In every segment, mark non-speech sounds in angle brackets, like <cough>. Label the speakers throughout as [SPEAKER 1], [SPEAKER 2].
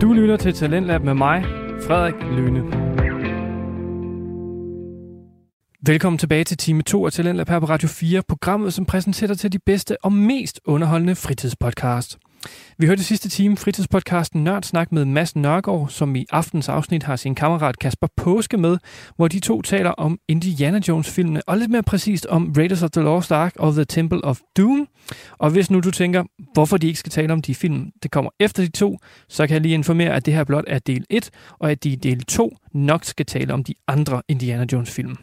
[SPEAKER 1] Du lytter til Talentlab med mig, Frederik Lyne. Velkommen tilbage til time 2 af Talentlab her på Radio 4, programmet, som præsenterer til de bedste og mest underholdende fritidspodcast. Vi hørte sidste time fritidspodcasten Nørd Snak med Mads Nørgaard, som i aftens afsnit har sin kammerat Kasper Påske med, hvor de to taler om Indiana Jones-filmene, og lidt mere præcist om Raiders of the Lost Ark og The Temple of Doom. Og hvis nu du tænker, hvorfor de ikke skal tale om de film, det kommer efter de to, så kan jeg lige informere, at det her blot er del 1, og at de i del 2 nok skal tale om de andre Indiana Jones-film.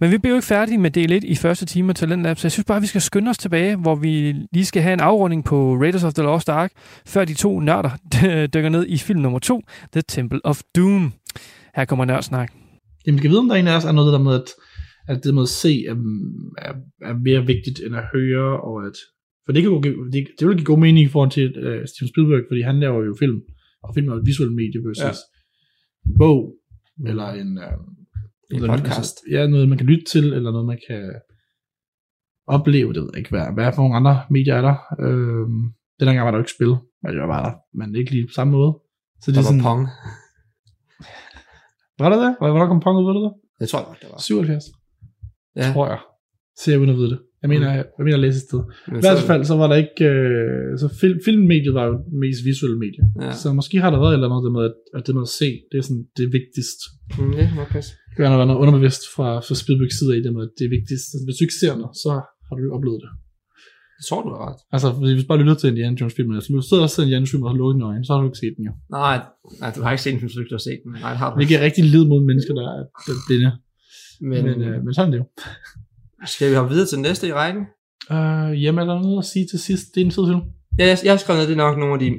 [SPEAKER 1] Men vi bliver jo ikke færdige med del 1 i første time af Talentlab, så jeg synes bare, at vi skal skynde os tilbage, hvor vi lige skal have en afrunding på Raiders of the Lost Ark, før de to nørder <laughs> dykker ned i film nummer 2, The Temple of Doom. Her kommer nørdsnak.
[SPEAKER 2] Jamen, kan vide, om der er en af os, er noget der med, at, at det med at se er, er, er mere vigtigt end at høre, og at, for det, kan jo, give- det, det vil give god mening i forhold til uh, Steven Spielberg, fordi han laver jo film, og film er jo et visuelt medie versus ja. en bog, eller en, uh, en
[SPEAKER 1] Eller en-
[SPEAKER 2] podcast. Ja, noget man kan lytte til, eller noget man kan opleve, det ved jeg ikke, hvad, hvad for nogle andre medier er der. Uh, den gang var der jo ikke spil, men jeg var der, men ikke lige på samme måde. Så det
[SPEAKER 3] Der
[SPEAKER 2] er
[SPEAKER 3] var
[SPEAKER 2] sådan,
[SPEAKER 3] Pong.
[SPEAKER 2] var der det? Hvor- Hvornår kom Pong ud, ved du det?
[SPEAKER 3] Jeg tror nok, det var.
[SPEAKER 2] 77.
[SPEAKER 3] Ja,
[SPEAKER 2] tror jeg. Ser jeg uden at vide det. Jeg mener, jeg, jeg mener at læse et sted.
[SPEAKER 3] men
[SPEAKER 2] I
[SPEAKER 3] så-
[SPEAKER 2] hvert fald Mm. så var der ikke... Øh, så film, filmmediet var jo det mest visuelle medie.
[SPEAKER 3] Ja.
[SPEAKER 2] Ja. Så måske har der været et eller andet det med, at, at det med at se, det er sådan det vigtigste.
[SPEAKER 3] Mm, ja, nok også.
[SPEAKER 2] Det kan være noget underbevidst fra, fra Spielbergs side af, det med, at det er vigtigst. Altså, hvis du ikke ser noget, så har du jo oplevet det.
[SPEAKER 3] Jeg tror, du har ret.
[SPEAKER 2] Altså, hvis hvis du bare lytter til Indiana Jones film, altså, hvis du sidder og ser Indiana Jones film og lukker dine øjne, så har du ikke set den jo.
[SPEAKER 3] Nej, nej, du har ikke set den, hvis du ikke har set den. Nej, det har du.
[SPEAKER 2] Hvilket er rigtig lid mod mennesker, der er, der er blinde. Men,
[SPEAKER 3] Men, øh,
[SPEAKER 2] men, øh, men sådan er det jo.
[SPEAKER 3] skal vi hoppe videre til den næste i rækken?
[SPEAKER 2] Øh, jamen, er der noget at sige til sidst? Det er en fed film.
[SPEAKER 3] Ja, jeg, jeg har skrevet ned, det er nok nogle af de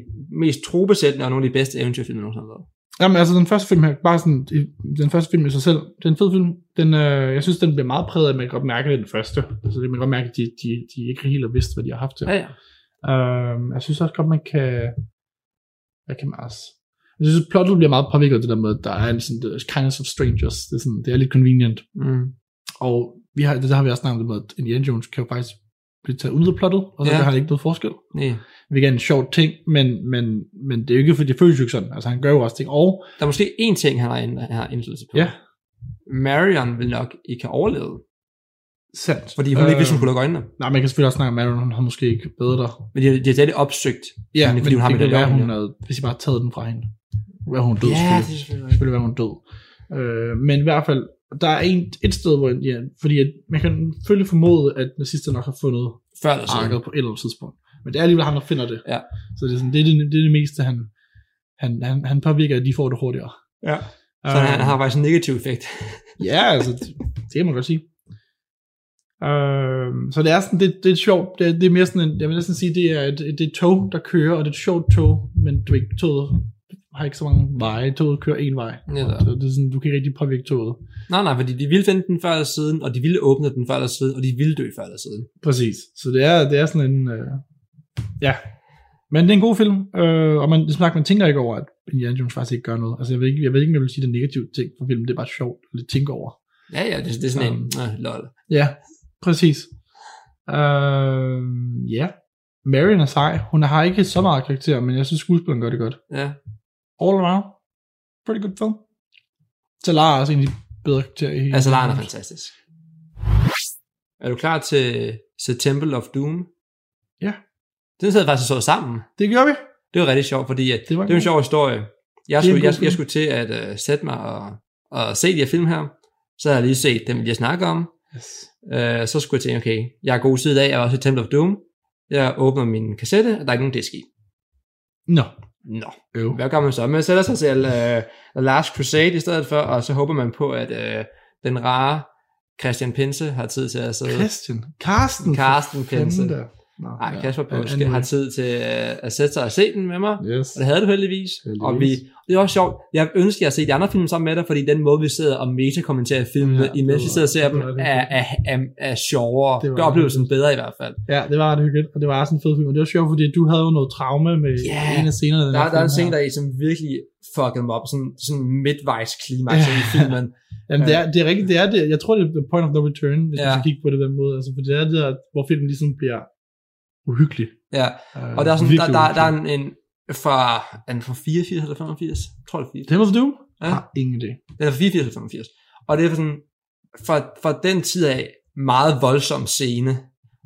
[SPEAKER 3] mest trobesættende og nogle af de bedste eventyrfilm, jeg nogensinde har lavet.
[SPEAKER 2] Jamen altså den første film her, bare sådan, i- den første film i sig selv, det er en fed film. Den, øh, jeg synes, den bliver meget præget af, at man kan godt mærke, at det er den første. Altså det, man kan godt mærke, at de, de, de ikke helt har vidst, hvad de har haft til.
[SPEAKER 3] Ja, ja.
[SPEAKER 2] Øh, jeg synes også godt, man kan... Hvad kan man også? Jeg synes, plottet bliver meget påvirket af det der med, at der er en sådan, the kindness of strangers. Det er, sådan, det er lidt convenient.
[SPEAKER 3] Mm.
[SPEAKER 2] Og vi har, det, der har vi også snakket om det med, at Indiana Jones kan jo faktisk blive taget ud af plottet, og så
[SPEAKER 3] Ja.
[SPEAKER 2] ja. har det ikke noget forskel
[SPEAKER 3] Nej.
[SPEAKER 2] hvilket er en sjov ting, men, men, men det er jo ikke, fordi det føles jo ikke sådan. Altså, han gør jo også ting. Og
[SPEAKER 3] Der er måske én ting, han har, ind- han har indflydelse på.
[SPEAKER 2] Ja.
[SPEAKER 3] Marion vil nok ikke have overlevet,
[SPEAKER 2] sandt. Øhm,
[SPEAKER 3] fordi hun øh. ikke vidste, hun kunne lukke øjnene.
[SPEAKER 2] Nej, man kan selvfølgelig også snakke om, at Marion, hun har måske ikke bedre dig.
[SPEAKER 3] Men de, har- de har slet ikke opsøgt.
[SPEAKER 2] Ja,
[SPEAKER 3] fordi
[SPEAKER 2] men
[SPEAKER 3] hun
[SPEAKER 2] det
[SPEAKER 3] har
[SPEAKER 2] kunne
[SPEAKER 3] medaljonen,
[SPEAKER 2] være, hun
[SPEAKER 3] ja.
[SPEAKER 2] havde, hvis I bare havde taget den fra hende. Hvad hun død,
[SPEAKER 3] ja, det
[SPEAKER 2] selvfølgelig.
[SPEAKER 3] er selvfølgelig rigtigt.
[SPEAKER 2] Selvfølgelig være, hun død. Øh, men i hvert fald, der er en, et sted, hvor ja, fordi at man kan selvfølgelig formode, at nazister nok har fundet
[SPEAKER 3] Før eller siden.
[SPEAKER 2] arket på et eller andet tidspunkt. Men det er alligevel ham, der finder det.
[SPEAKER 3] Ja.
[SPEAKER 2] Så det er, sådan, det, er det, det, er det meste, han, han, han, han påvirker, at de får det hurtigere.
[SPEAKER 3] Ja. Så han, han har faktisk en negativ effekt.
[SPEAKER 2] Ja, altså, det, det kan man godt sige. Øh, så det er sådan, det, det er sjovt, det, er- det er mere sådan, en, jeg vil næsten sige, det er et, det er et tog, der kører, og det er et sjovt tog, men du ved ikke, toget har ikke så mange veje, toget kører én vej.
[SPEAKER 3] Netop.
[SPEAKER 2] Så det er sådan, du kan ikke rigtig påvirke toget.
[SPEAKER 3] Nej, nej, fordi de ville finde den før eller siden, og de ville åbne den før eller siden, og de ville dø før eller siden.
[SPEAKER 2] Præcis. Så det er, det er sådan en, øh, ja. Men det er en god film, øh, og man, det man tænker ikke over, at Indiana Jones faktisk ikke gør noget. Altså, jeg ved ikke, jeg ved ikke, om jeg vil sige det negative ting for filmen, det er bare sjovt at lidt tænke over.
[SPEAKER 3] Ja, ja, det, det er sådan en,
[SPEAKER 2] Øhm.
[SPEAKER 3] øh, lol.
[SPEAKER 2] Ja, præcis. Øh, ja. Marion er sej. Hun har ikke så meget karakter, men jeg synes, skuespilleren gør det godt.
[SPEAKER 3] Ja.
[SPEAKER 2] All around. Pretty good film. Talar er også en af de bedre karakterer i
[SPEAKER 3] Altså, Laren er fantastisk. Er du klar til, til Temple of Doom?
[SPEAKER 2] Ja.
[SPEAKER 3] Den sad jeg faktisk og så sammen.
[SPEAKER 2] Det gør vi.
[SPEAKER 3] Det var rigtig sjovt, fordi at, det,
[SPEAKER 2] Det
[SPEAKER 3] var
[SPEAKER 2] var
[SPEAKER 3] det var en
[SPEAKER 2] en
[SPEAKER 3] sjov historie. Jeg
[SPEAKER 2] en
[SPEAKER 3] skulle,
[SPEAKER 2] god
[SPEAKER 3] jeg,
[SPEAKER 2] film.
[SPEAKER 3] jeg skulle til at uh, sætte mig og, og se de her film her. Så havde jeg lige set dem, jeg snakker om.
[SPEAKER 2] Yes.
[SPEAKER 3] Uh, så skulle jeg tænke, okay, jeg er god tid i dag, jeg var også i Temple of Doom. Jeg åbner min kassette, og der er ikke nogen disk i.
[SPEAKER 2] Nå.
[SPEAKER 3] Nå,
[SPEAKER 2] Øv.
[SPEAKER 3] hvad gør man så? Man sætter sig til uh, The Last Crusade i stedet for, og så håber man på, at uh, den rare Christian Pinse har tid til at sidde.
[SPEAKER 2] Christian. Carsten.
[SPEAKER 3] Carsten
[SPEAKER 2] for fanden
[SPEAKER 3] Pinse.
[SPEAKER 2] da. Nå,
[SPEAKER 3] Nej,
[SPEAKER 2] ja.
[SPEAKER 3] Kasper
[SPEAKER 2] Ja,
[SPEAKER 3] Påske
[SPEAKER 2] anyway.
[SPEAKER 3] har tid til øh, at sætte sig og se den med mig.
[SPEAKER 2] Yes.
[SPEAKER 3] Og det havde du heldigvis. heldigvis.
[SPEAKER 2] Heldigvis.
[SPEAKER 3] Og vi, det er også sjovt. Jeg ønsker, at jeg har set de andre film sammen med dig, fordi den måde, vi sidder og meta-kommenterer filmene,
[SPEAKER 2] Ja,
[SPEAKER 3] ja, imens
[SPEAKER 2] det
[SPEAKER 3] vi
[SPEAKER 2] var-
[SPEAKER 3] sidder og ser
[SPEAKER 2] det
[SPEAKER 3] dem,
[SPEAKER 2] var rigtig
[SPEAKER 3] er, er, er, er sjovere.
[SPEAKER 2] Det
[SPEAKER 3] Det
[SPEAKER 2] var
[SPEAKER 3] gør
[SPEAKER 2] rigtig
[SPEAKER 3] oplevelsen bedre i hvert fald.
[SPEAKER 2] Ja, det var ret hyggeligt, og det var også en fed film. Og det var sjovt, fordi du havde jo noget traume med
[SPEAKER 3] Ja.
[SPEAKER 2] yeah. en af scenerne. i den
[SPEAKER 3] Der,
[SPEAKER 2] her
[SPEAKER 3] der er en
[SPEAKER 2] film
[SPEAKER 3] scene,
[SPEAKER 2] her.
[SPEAKER 3] der er, som virkelig fuckede mig op. Sådan, sådan midtvejs klimaks
[SPEAKER 2] Ja.
[SPEAKER 3] i filmen.
[SPEAKER 2] Jamen, det, er, det er rigtigt, det er det. Jeg tror, det er the point of no return, hvis
[SPEAKER 3] Ja.
[SPEAKER 2] ja. man skal kigge på det den måde. Altså, for det er det, der, hvor filmen ligesom bliver uhyggelig.
[SPEAKER 3] Ja.
[SPEAKER 2] Øh,
[SPEAKER 3] Og der er, sådan, der,
[SPEAKER 2] virkelig
[SPEAKER 3] der, der er
[SPEAKER 2] uhyggelig.
[SPEAKER 3] en, en fra, er den fra 84 eller 85? Jeg tror det er 84.
[SPEAKER 2] Det må du.
[SPEAKER 3] Ja.
[SPEAKER 2] Ja. Har ingen idé.
[SPEAKER 3] Den er fra 84 eller 85. Og det er sådan, fra, fra den tid af, meget voldsom scene,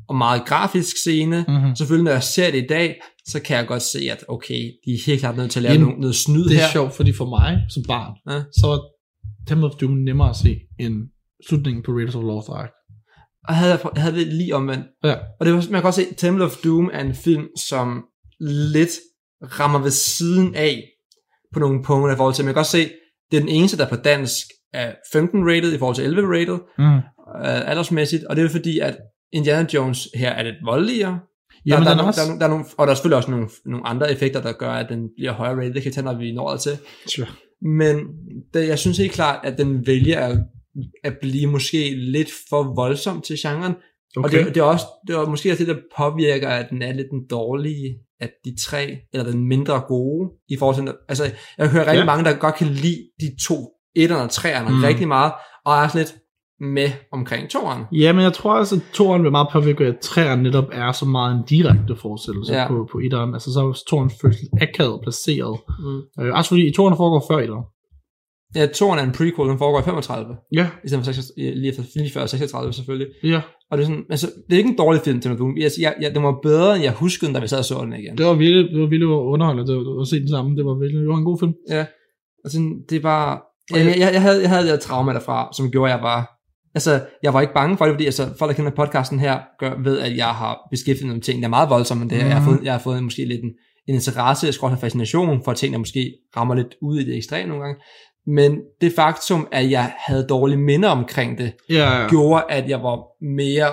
[SPEAKER 3] og meget grafisk scene.
[SPEAKER 2] Mm-hmm.
[SPEAKER 3] Selvfølgelig, når jeg ser det i dag, så kan jeg godt se, at okay, de er helt klart nødt til at lave
[SPEAKER 2] Jamen,
[SPEAKER 3] noget, noget snyd
[SPEAKER 2] Det er
[SPEAKER 3] her.
[SPEAKER 2] sjovt, fordi for mig som barn,
[SPEAKER 3] Ja.
[SPEAKER 2] ja. så var Temple of Doom nemmere at se end slutningen på Raiders of the Lost Ark.
[SPEAKER 3] Og havde, jeg- jeg havde det lige omvendt.
[SPEAKER 2] Ja.
[SPEAKER 3] Og det var, man kan også se, at Temple of Doom er en film, som lidt rammer ved siden af på nogle punkter i forhold til. Man kan også se, det er den eneste, der på dansk er 15-rated i forhold til 11-rated
[SPEAKER 2] Mm.
[SPEAKER 3] øh, aldersmæssigt. Og det er jo fordi, at Indiana Jones her er lidt voldeligere. Der,
[SPEAKER 2] Jamen,
[SPEAKER 3] der,
[SPEAKER 2] den er
[SPEAKER 3] der, er,
[SPEAKER 2] også...
[SPEAKER 3] der, er, der er nogle, og der er selvfølgelig også nogle, nogle andre effekter, der gør, at den bliver højere rated. Det kan vi tage, når vi når til.
[SPEAKER 2] Sure.
[SPEAKER 3] Men det, jeg synes helt klart, at den vælger at, at blive måske lidt for voldsom til genren. Okay. Og
[SPEAKER 2] Okay.
[SPEAKER 3] det, det, er også, det er måske også det, der påvirker, at den er lidt den dårlige af de tre, eller den mindre gode, i forhold til, altså jeg hører rigtig ja.
[SPEAKER 2] Ja.
[SPEAKER 3] mange, der godt kan lide de to, etterne og træerne, mm.
[SPEAKER 2] Mm.
[SPEAKER 3] rigtig meget, og er sådan lidt med omkring toeren.
[SPEAKER 2] Ja, men jeg tror også, at toeren bliver meget påvirket af, at træerne netop er så meget en direkte forestillelse
[SPEAKER 3] Ja.
[SPEAKER 2] ja. på, på etteren. Altså, så er toeren føles lidt akavet placeret.
[SPEAKER 3] Mm.
[SPEAKER 2] Øh, også fordi toeren foregår før etteren.
[SPEAKER 3] Ja, toeren er en prequel, den foregår i 35,
[SPEAKER 2] Ja,
[SPEAKER 3] i stedet for 36, lige, efter, lige før 36 selvfølgelig.
[SPEAKER 2] ja.
[SPEAKER 3] Og det er sådan, altså, det er ikke en dårlig film, Tim Boom. Jeg, jeg, jeg, den var bedre, end jeg huskede, den, da vi sad og så den igen.
[SPEAKER 2] Det var virkelig, det var virkelig underholdende det var, at se den sammen. Det var virkelig det var en god film.
[SPEAKER 3] Ja. Altså, det er bare... Jeg, jeg, jeg, havde, jeg havde det her trauma derfra, som gjorde, at jeg var... Altså, jeg var ikke bange for det, fordi altså, folk, der kender podcasten her, gør, ved, at jeg har beskæftiget mig med ting, der er meget voldsomme, men det her. Jeg, har
[SPEAKER 2] Mhm.
[SPEAKER 3] fået, jeg har fået måske lidt en, en interesse, jeg en fascination for ting, der måske rammer lidt ud i det ekstreme nogle gange. Men det faktum, at jeg havde dårlige minder omkring det,
[SPEAKER 2] Ja, ja.
[SPEAKER 3] gjorde, at jeg var mere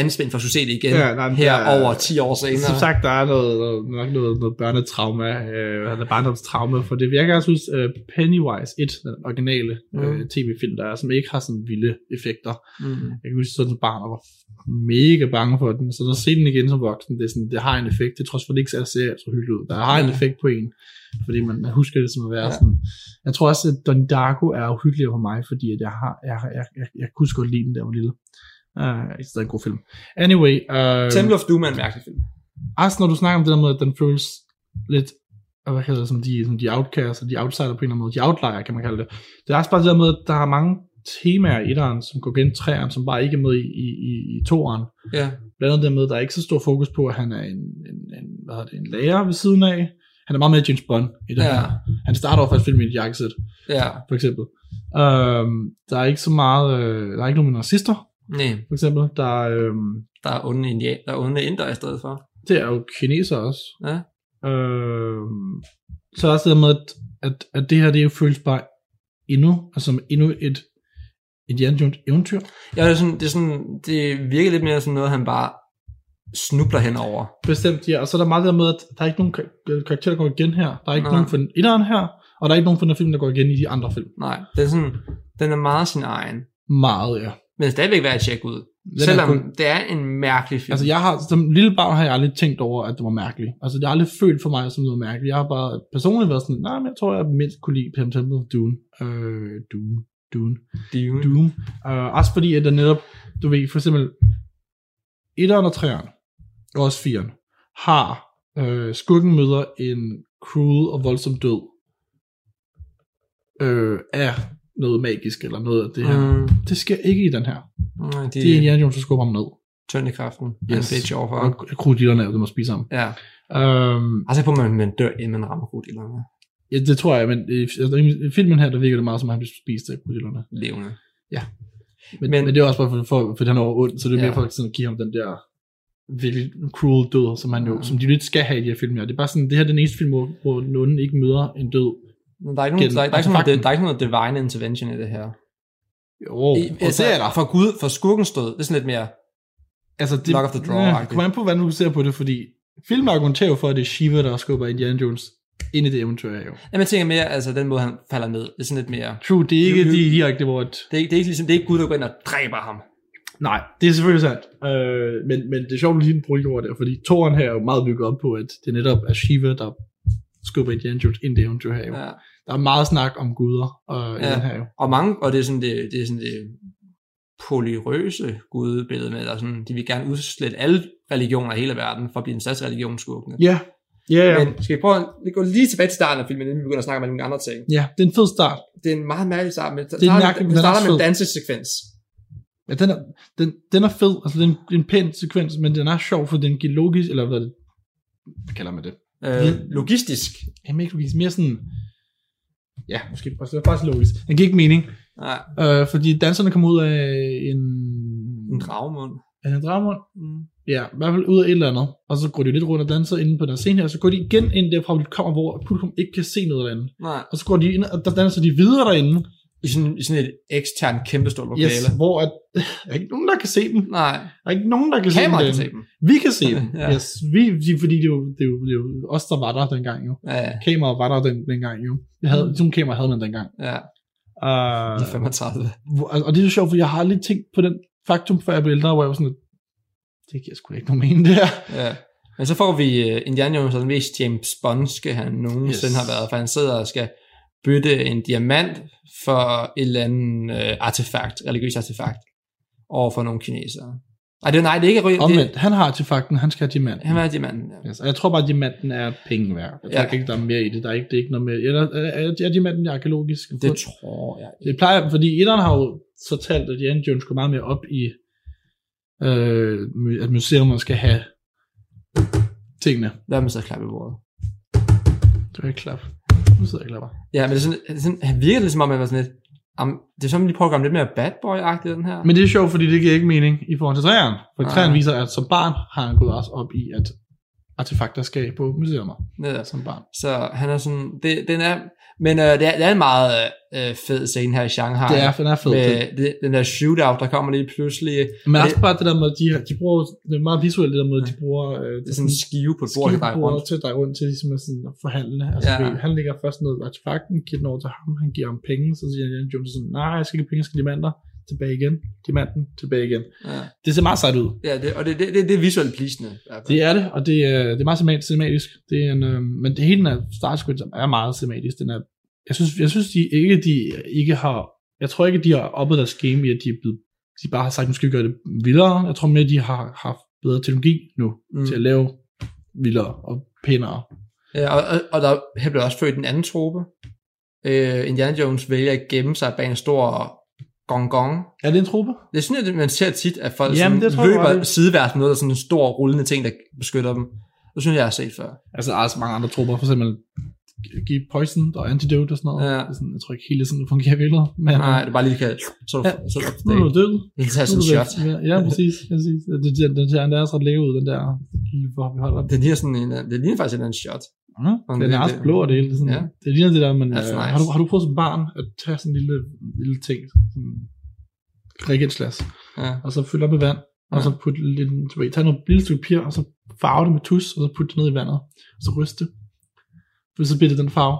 [SPEAKER 3] anspændt for at skulle se det igen
[SPEAKER 2] Ja, nej, men
[SPEAKER 3] her
[SPEAKER 2] der er-
[SPEAKER 3] over 10 år senere.
[SPEAKER 2] Som sagt, der er noget, noget, nok noget, noget børnetrauma, øh, eller barndomstrauma, for det virker, jeg synes, øh, Pennywise 1, den originale øh,
[SPEAKER 3] Mm.
[SPEAKER 2] tv-film, der er, som ikke har sådan vilde effekter.
[SPEAKER 3] Mm.
[SPEAKER 2] Jeg kan huske, sådan som barn, og var mega bange for den, så når jeg ser den igen som voksen, det, er sådan, det har en effekt, det trods for, det ikke ser- ser så hyggeligt ud. Der har en
[SPEAKER 3] Ja.
[SPEAKER 2] effekt på en, fordi man, man husker det som at være
[SPEAKER 3] Ja.
[SPEAKER 2] ja. sådan. Jeg tror også, at Donnie Darko er uhyggeligere for mig, fordi at jeg, har, jeg, jeg, jeg, jeg kunne sgu godt lide den, der var lille. Uh, det er stadig en god film. Anyway. Uh,
[SPEAKER 3] Temple of Doom er en mærkelig film.
[SPEAKER 2] også når du snakker om det der med, at den føles lidt, og hvad hedder det, som de, som de outcasts og de outsider på en eller anden måde, de outlier kan man kalde det. Det er også bare det der med, at der er mange temaer i etteren, som går gennem træeren, som bare ikke er med i, i, i, i toeren.
[SPEAKER 3] Ja.
[SPEAKER 2] Blandt andet det med, at der er ikke så stor fokus på, at han er en, en, en, hvad hedder det, en lærer ved siden af. Han er meget med James Bond i det
[SPEAKER 3] Ja.
[SPEAKER 2] ja. her. Han starter over faktisk filmen i et jakkesæt,
[SPEAKER 3] Ja.
[SPEAKER 2] for eksempel. Øhm, der er ikke så meget, øh, der er ikke nogen med nazister,
[SPEAKER 3] Nej,
[SPEAKER 2] for eksempel. Der er, øhm,
[SPEAKER 3] der er onde, indian, der er onde indere i stedet for.
[SPEAKER 2] det er jo kineser også.
[SPEAKER 3] Ja.
[SPEAKER 2] Øh, så også det der med, at, at, at det her, det er jo føles bare endnu, altså som endnu et Indiana Jones eventyr.
[SPEAKER 3] Ja, det, er sådan, det, er sådan, det virker lidt mere sådan noget, han bare snubler henover.
[SPEAKER 2] Bestemt, ja. Og så er der meget det der med, at der er ikke nogen kar- øh, karakterer, der går igen her. Der er ikke Nej.
[SPEAKER 3] Nej.
[SPEAKER 2] nogen for den etteren her, og der er ikke nogen for den her film, der går igen i de andre film.
[SPEAKER 3] Nej, den er, sådan, den er meget sin egen.
[SPEAKER 2] Meget, ja.
[SPEAKER 3] Men stadigvæk værd at tjekke ud.
[SPEAKER 2] Den er
[SPEAKER 3] Selvom
[SPEAKER 2] kun-
[SPEAKER 3] det er en mærkelig film.
[SPEAKER 2] Altså, jeg har, som lille barn har jeg aldrig tænkt over, at det var mærkeligt. Altså, det har aldrig følt for mig som noget mærkeligt. Jeg har bare personligt været sådan, nej, men jeg tror, jeg mindst kunne lide Pam Temple Dune. Øh, Dune. Dune.
[SPEAKER 3] Dune.
[SPEAKER 2] Doom. Uh, også fordi, at der netop, du ved, for eksempel 1'eren og 3'eren, og også 4'eren, har øh, skuggen møder en cruel og voldsom død øh, af noget magisk, eller noget af det her. Mm.
[SPEAKER 3] Mm,
[SPEAKER 2] Det sker ikke i den her.
[SPEAKER 3] nej, de,
[SPEAKER 2] Det er Indiana Jones, der skubber ham ned.
[SPEAKER 3] tøndekraften. Yes. En
[SPEAKER 2] Yes.
[SPEAKER 3] bitch overfor.
[SPEAKER 2] Og krudillerne er jo dem at spise ham.
[SPEAKER 3] Ja.
[SPEAKER 2] Øhm,
[SPEAKER 3] Altså på, man, man dør, inden man rammer godt i landet.
[SPEAKER 2] ja, det tror jeg, men i, altså, i filmen her, der virker det meget som, at han bliver spist af krudillerne.
[SPEAKER 3] Levende.
[SPEAKER 2] Men,
[SPEAKER 3] Men-
[SPEAKER 2] men, men det er også bare for, for, for den over ond, så det er
[SPEAKER 3] Ja.
[SPEAKER 2] mere for sådan at give ham den der virkelig cruel død, som, han jo,
[SPEAKER 3] Ja.
[SPEAKER 2] som de lidt skal have i de her film her. Det er bare sådan, det her er den eneste film, hvor, hvor den onde ikke møder en død.
[SPEAKER 3] Men Der er ikke, nogen,
[SPEAKER 2] Gennem
[SPEAKER 3] der, er, der, er ikke sådan noget,
[SPEAKER 2] artefakten.
[SPEAKER 3] der er ikke sådan noget divine intervention i det her.
[SPEAKER 2] Jo, oh,
[SPEAKER 3] I, altså,
[SPEAKER 2] det er der.
[SPEAKER 3] For Gud, for skurken stod. Det er sådan lidt mere...
[SPEAKER 2] Altså, det
[SPEAKER 3] Knock of the Draw-agtigt.
[SPEAKER 2] Ja, kommer an på, hvordan du ser på det, fordi filmen argumenterer jo for, at det er Shiva, der skubber Indiana Jones ind i det eventyr her jo.
[SPEAKER 3] Jamen, jeg tænker mere, altså den måde, han falder ned. Det er sådan lidt mere...
[SPEAKER 2] True, det er ikke
[SPEAKER 3] Jo, jo.
[SPEAKER 2] lige direkte, hvor et,
[SPEAKER 3] Det er, ikke- det er ikke ligesom, det er ikke Gud, der går ind og dræber ham.
[SPEAKER 2] Nej, det er selvfølgelig sandt. Øh, men, men det er sjovt, at du lige bruger de ord der, fordi toren her er jo meget bygget op på, at det netop er Shiva, der skubber Indiana Jones ind i det eventyr her jo.
[SPEAKER 3] Ja.
[SPEAKER 2] Der er meget snak om guder og øh, i
[SPEAKER 3] Ja.
[SPEAKER 2] den her jo.
[SPEAKER 3] Og mange, og det er sådan det, det, er sådan det polyrøse gudebillede med, eller sådan, de vil gerne udslette alle religioner i hele verden, for at blive den største religion skurkene.
[SPEAKER 2] Ja, Ja, ja.
[SPEAKER 3] Men skal vi prøve at vi går lige tilbage til starten af filmen, inden vi begynder at snakke om alle mulige andre ting.
[SPEAKER 2] ja, det er en fed start.
[SPEAKER 3] Det er en meget mærkelig start, men det
[SPEAKER 2] er
[SPEAKER 3] starter,
[SPEAKER 2] mærkeligt,
[SPEAKER 3] mærkelig,
[SPEAKER 2] men den er
[SPEAKER 3] starter med
[SPEAKER 2] fed.
[SPEAKER 3] en dansesekvens.
[SPEAKER 2] Ja, den er, den, den er fed, altså det er en, det er en pæn sekvens, men den er sjov, for den giver logisk, eller hvad er det? Hvad kalder man det?
[SPEAKER 3] Øh,
[SPEAKER 2] Ja.
[SPEAKER 3] logistisk.
[SPEAKER 2] Jamen ikke logisk, mere sådan, ja, måske faktisk, det er faktisk logisk. Den giver ikke mening,
[SPEAKER 3] Nej,
[SPEAKER 2] øh, fordi danserne kommer ud af en,
[SPEAKER 3] en dragemund.
[SPEAKER 2] er det en dragmund?
[SPEAKER 3] Mm.
[SPEAKER 2] Ja, i hvert fald ud af et eller andet, og så går de lidt rundt og danser inde på den her scene her, og så går de igen ind derfra, hvor de kommer, hvor publikum ikke kan se noget eller andet.
[SPEAKER 3] Nej.
[SPEAKER 2] Og så går de ind, og der danser de videre derinde,
[SPEAKER 3] I sådan, i sådan et eksternt kæmpestort
[SPEAKER 2] yes,
[SPEAKER 3] lokale. Yes.
[SPEAKER 2] hvor at, <laughs> der er ikke nogen, der kan se dem.
[SPEAKER 3] Nej,
[SPEAKER 2] Der er ikke nogen, der kan
[SPEAKER 3] kameraet
[SPEAKER 2] se dem. derinde.
[SPEAKER 3] kan se dem.
[SPEAKER 2] Vi kan
[SPEAKER 3] <laughs>
[SPEAKER 2] se dem,
[SPEAKER 3] Ja.
[SPEAKER 2] ja. yes, vi, de- fordi det er, jo, det, er jo, det er jo os, der var der dengang jo.
[SPEAKER 3] Ja, ja,
[SPEAKER 2] Kameraet var der den, dengang jo. Jeg havde, mm. Sådan kamera havde man dengang.
[SPEAKER 3] ja.
[SPEAKER 2] Uh,
[SPEAKER 3] De er 35.
[SPEAKER 2] Hvor- og og det er så sjovt, for jeg har aldrig tænkt på den faktum, før jeg blev ældre, hvor jeg var sådan, lidt, det giver sgu da ikke nogen mening, det her.
[SPEAKER 3] Ja. Men så får vi uh, Indiana Jones, og den mest James Bondske, han nogensinde
[SPEAKER 2] Yes.
[SPEAKER 3] yes. har været, for han sidder og skal bytte en diamant for et eller andet uh, artefakt, religiøs artefakt, over for nogle kinesere. Ej, det, nej, det er ikke rigtig.
[SPEAKER 2] Omvendt, Mm. han har artefakten, han skal have diamanten.
[SPEAKER 3] Han var diamanten. Ja.
[SPEAKER 2] Yes, og jeg tror bare, at diamanten er penge værd. Jeg tror
[SPEAKER 3] Ja.
[SPEAKER 2] ikke, der er mere i det. Der er ikke, det er ikke noget mere. Eller er, er, er diamanten arkeologisk?
[SPEAKER 3] Det tror jeg.
[SPEAKER 2] det plejer, fordi etteren har jo så talt, at Jan Jones går meget mere op i, øh, at museer skal have tingene.
[SPEAKER 3] Hvad med så at klappe i bordet?
[SPEAKER 2] Det var ikke klap. Nu sidder jeg og klapper.
[SPEAKER 3] Ja, men det er sådan, det er sådan, han virker lidt som om, han var sådan lidt, am, det er som, om, de prøver at gøre ham lidt mere bad boy-agtig, den her.
[SPEAKER 2] Men det er sjovt, fordi det giver ikke mening i forhold til træerne. For
[SPEAKER 3] Nej.
[SPEAKER 2] træerne viser, at som barn har han gået også op i, at artefakter skal på museer
[SPEAKER 3] ja.
[SPEAKER 2] som barn.
[SPEAKER 3] Så han er sådan, det, den er, men øh, det, er, det er en meget øh, fed scene her i Shanghai.
[SPEAKER 2] Det er, for den er fed. det.
[SPEAKER 3] med det, den der shootout, der kommer lige pludselig.
[SPEAKER 2] Men
[SPEAKER 3] det-
[SPEAKER 2] også bare det der med, de, de bruger, det er meget visuelt, det der med, de bruger øh,
[SPEAKER 3] Det er sådan en skive på et bord, der drejer rundt.
[SPEAKER 2] skivebord til dig rundt til ligesom at sådan at forhandle. Altså,
[SPEAKER 3] Ja.
[SPEAKER 2] ja. Han ligger først ned i artefakten, giver den over til ham, han giver ham penge, så siger Indiana Jones sådan, nej, jeg skal ikke have penge, jeg skal have diamanter, tilbage igen, diamanten, tilbage igen.
[SPEAKER 3] Ja,
[SPEAKER 2] Det ser meget sejt ud.
[SPEAKER 3] ja det, og det, det, det, det er visuelt pleasende. i hvert fald.
[SPEAKER 2] Det er det, og det er, det er meget cinema- cinematisk. Det er en, øh, men det hele den her start sequence er meget cinematisk. Den er, jeg synes, jeg synes de ikke, de ikke har, jeg tror ikke, de har oppet deres game i, at de, er blevet, de bare har sagt, nu skal vi gøre det vildere. Jeg tror mere, de har haft bedre teknologi nu, mm.
[SPEAKER 3] Mm.
[SPEAKER 2] til at lave vildere og pænere.
[SPEAKER 3] Ja, og, og, og der her blev også født en anden trope. Øh, Indiana Jones vælger at gemme sig bag en stor gong-gong.
[SPEAKER 2] Er det en truppe?
[SPEAKER 3] Det er sådan, at man ser tit, at folk
[SPEAKER 2] Jamen,
[SPEAKER 3] Jamen,
[SPEAKER 2] det tror
[SPEAKER 3] sådan
[SPEAKER 2] jeg, du har
[SPEAKER 3] løber
[SPEAKER 2] ret i.
[SPEAKER 3] sideværs med noget, der er sådan en stor rullende ting, der beskytter dem. Det synes jeg, jeg har set før.
[SPEAKER 2] Altså, der er også mange andre trupper, for eksempel give poison og antidote og sådan noget.
[SPEAKER 3] Ja.
[SPEAKER 2] Det er Sådan, jeg tror ikke helt, det er sådan det fungerer i virkeligheden. Men,
[SPEAKER 3] Nej, det er bare lige kan... Så,
[SPEAKER 2] Ja.
[SPEAKER 3] ja. så, så,
[SPEAKER 2] Nu er du død.
[SPEAKER 3] det er
[SPEAKER 2] Nu
[SPEAKER 3] sådan
[SPEAKER 2] er
[SPEAKER 3] en
[SPEAKER 2] du
[SPEAKER 3] shot.
[SPEAKER 2] væk. Ja, Ja, præcis. præcis. Det, det, den, den, den er også ret leve ud, den der, hvor vi holder op.
[SPEAKER 3] Det ligner, sådan en, det ligner faktisk en anden shot.
[SPEAKER 2] Mm. Den er
[SPEAKER 3] det-
[SPEAKER 2] også
[SPEAKER 3] det-
[SPEAKER 2] blå og det hele. det er Sådan,
[SPEAKER 3] Ja.
[SPEAKER 2] Det ligner det der, man... Øh,
[SPEAKER 3] That's nice.
[SPEAKER 2] har, du, har du prøvet som barn at tage sådan en lille, lille ting, sådan regenslads,
[SPEAKER 3] Ja.
[SPEAKER 2] og så fylde op med vand, og
[SPEAKER 3] Ja.
[SPEAKER 2] så putte lidt, du ved, tage noget lille stykke papir, og så farve det med tus, og så putte det ned i vandet, og så ryste. For så bliver det den farve.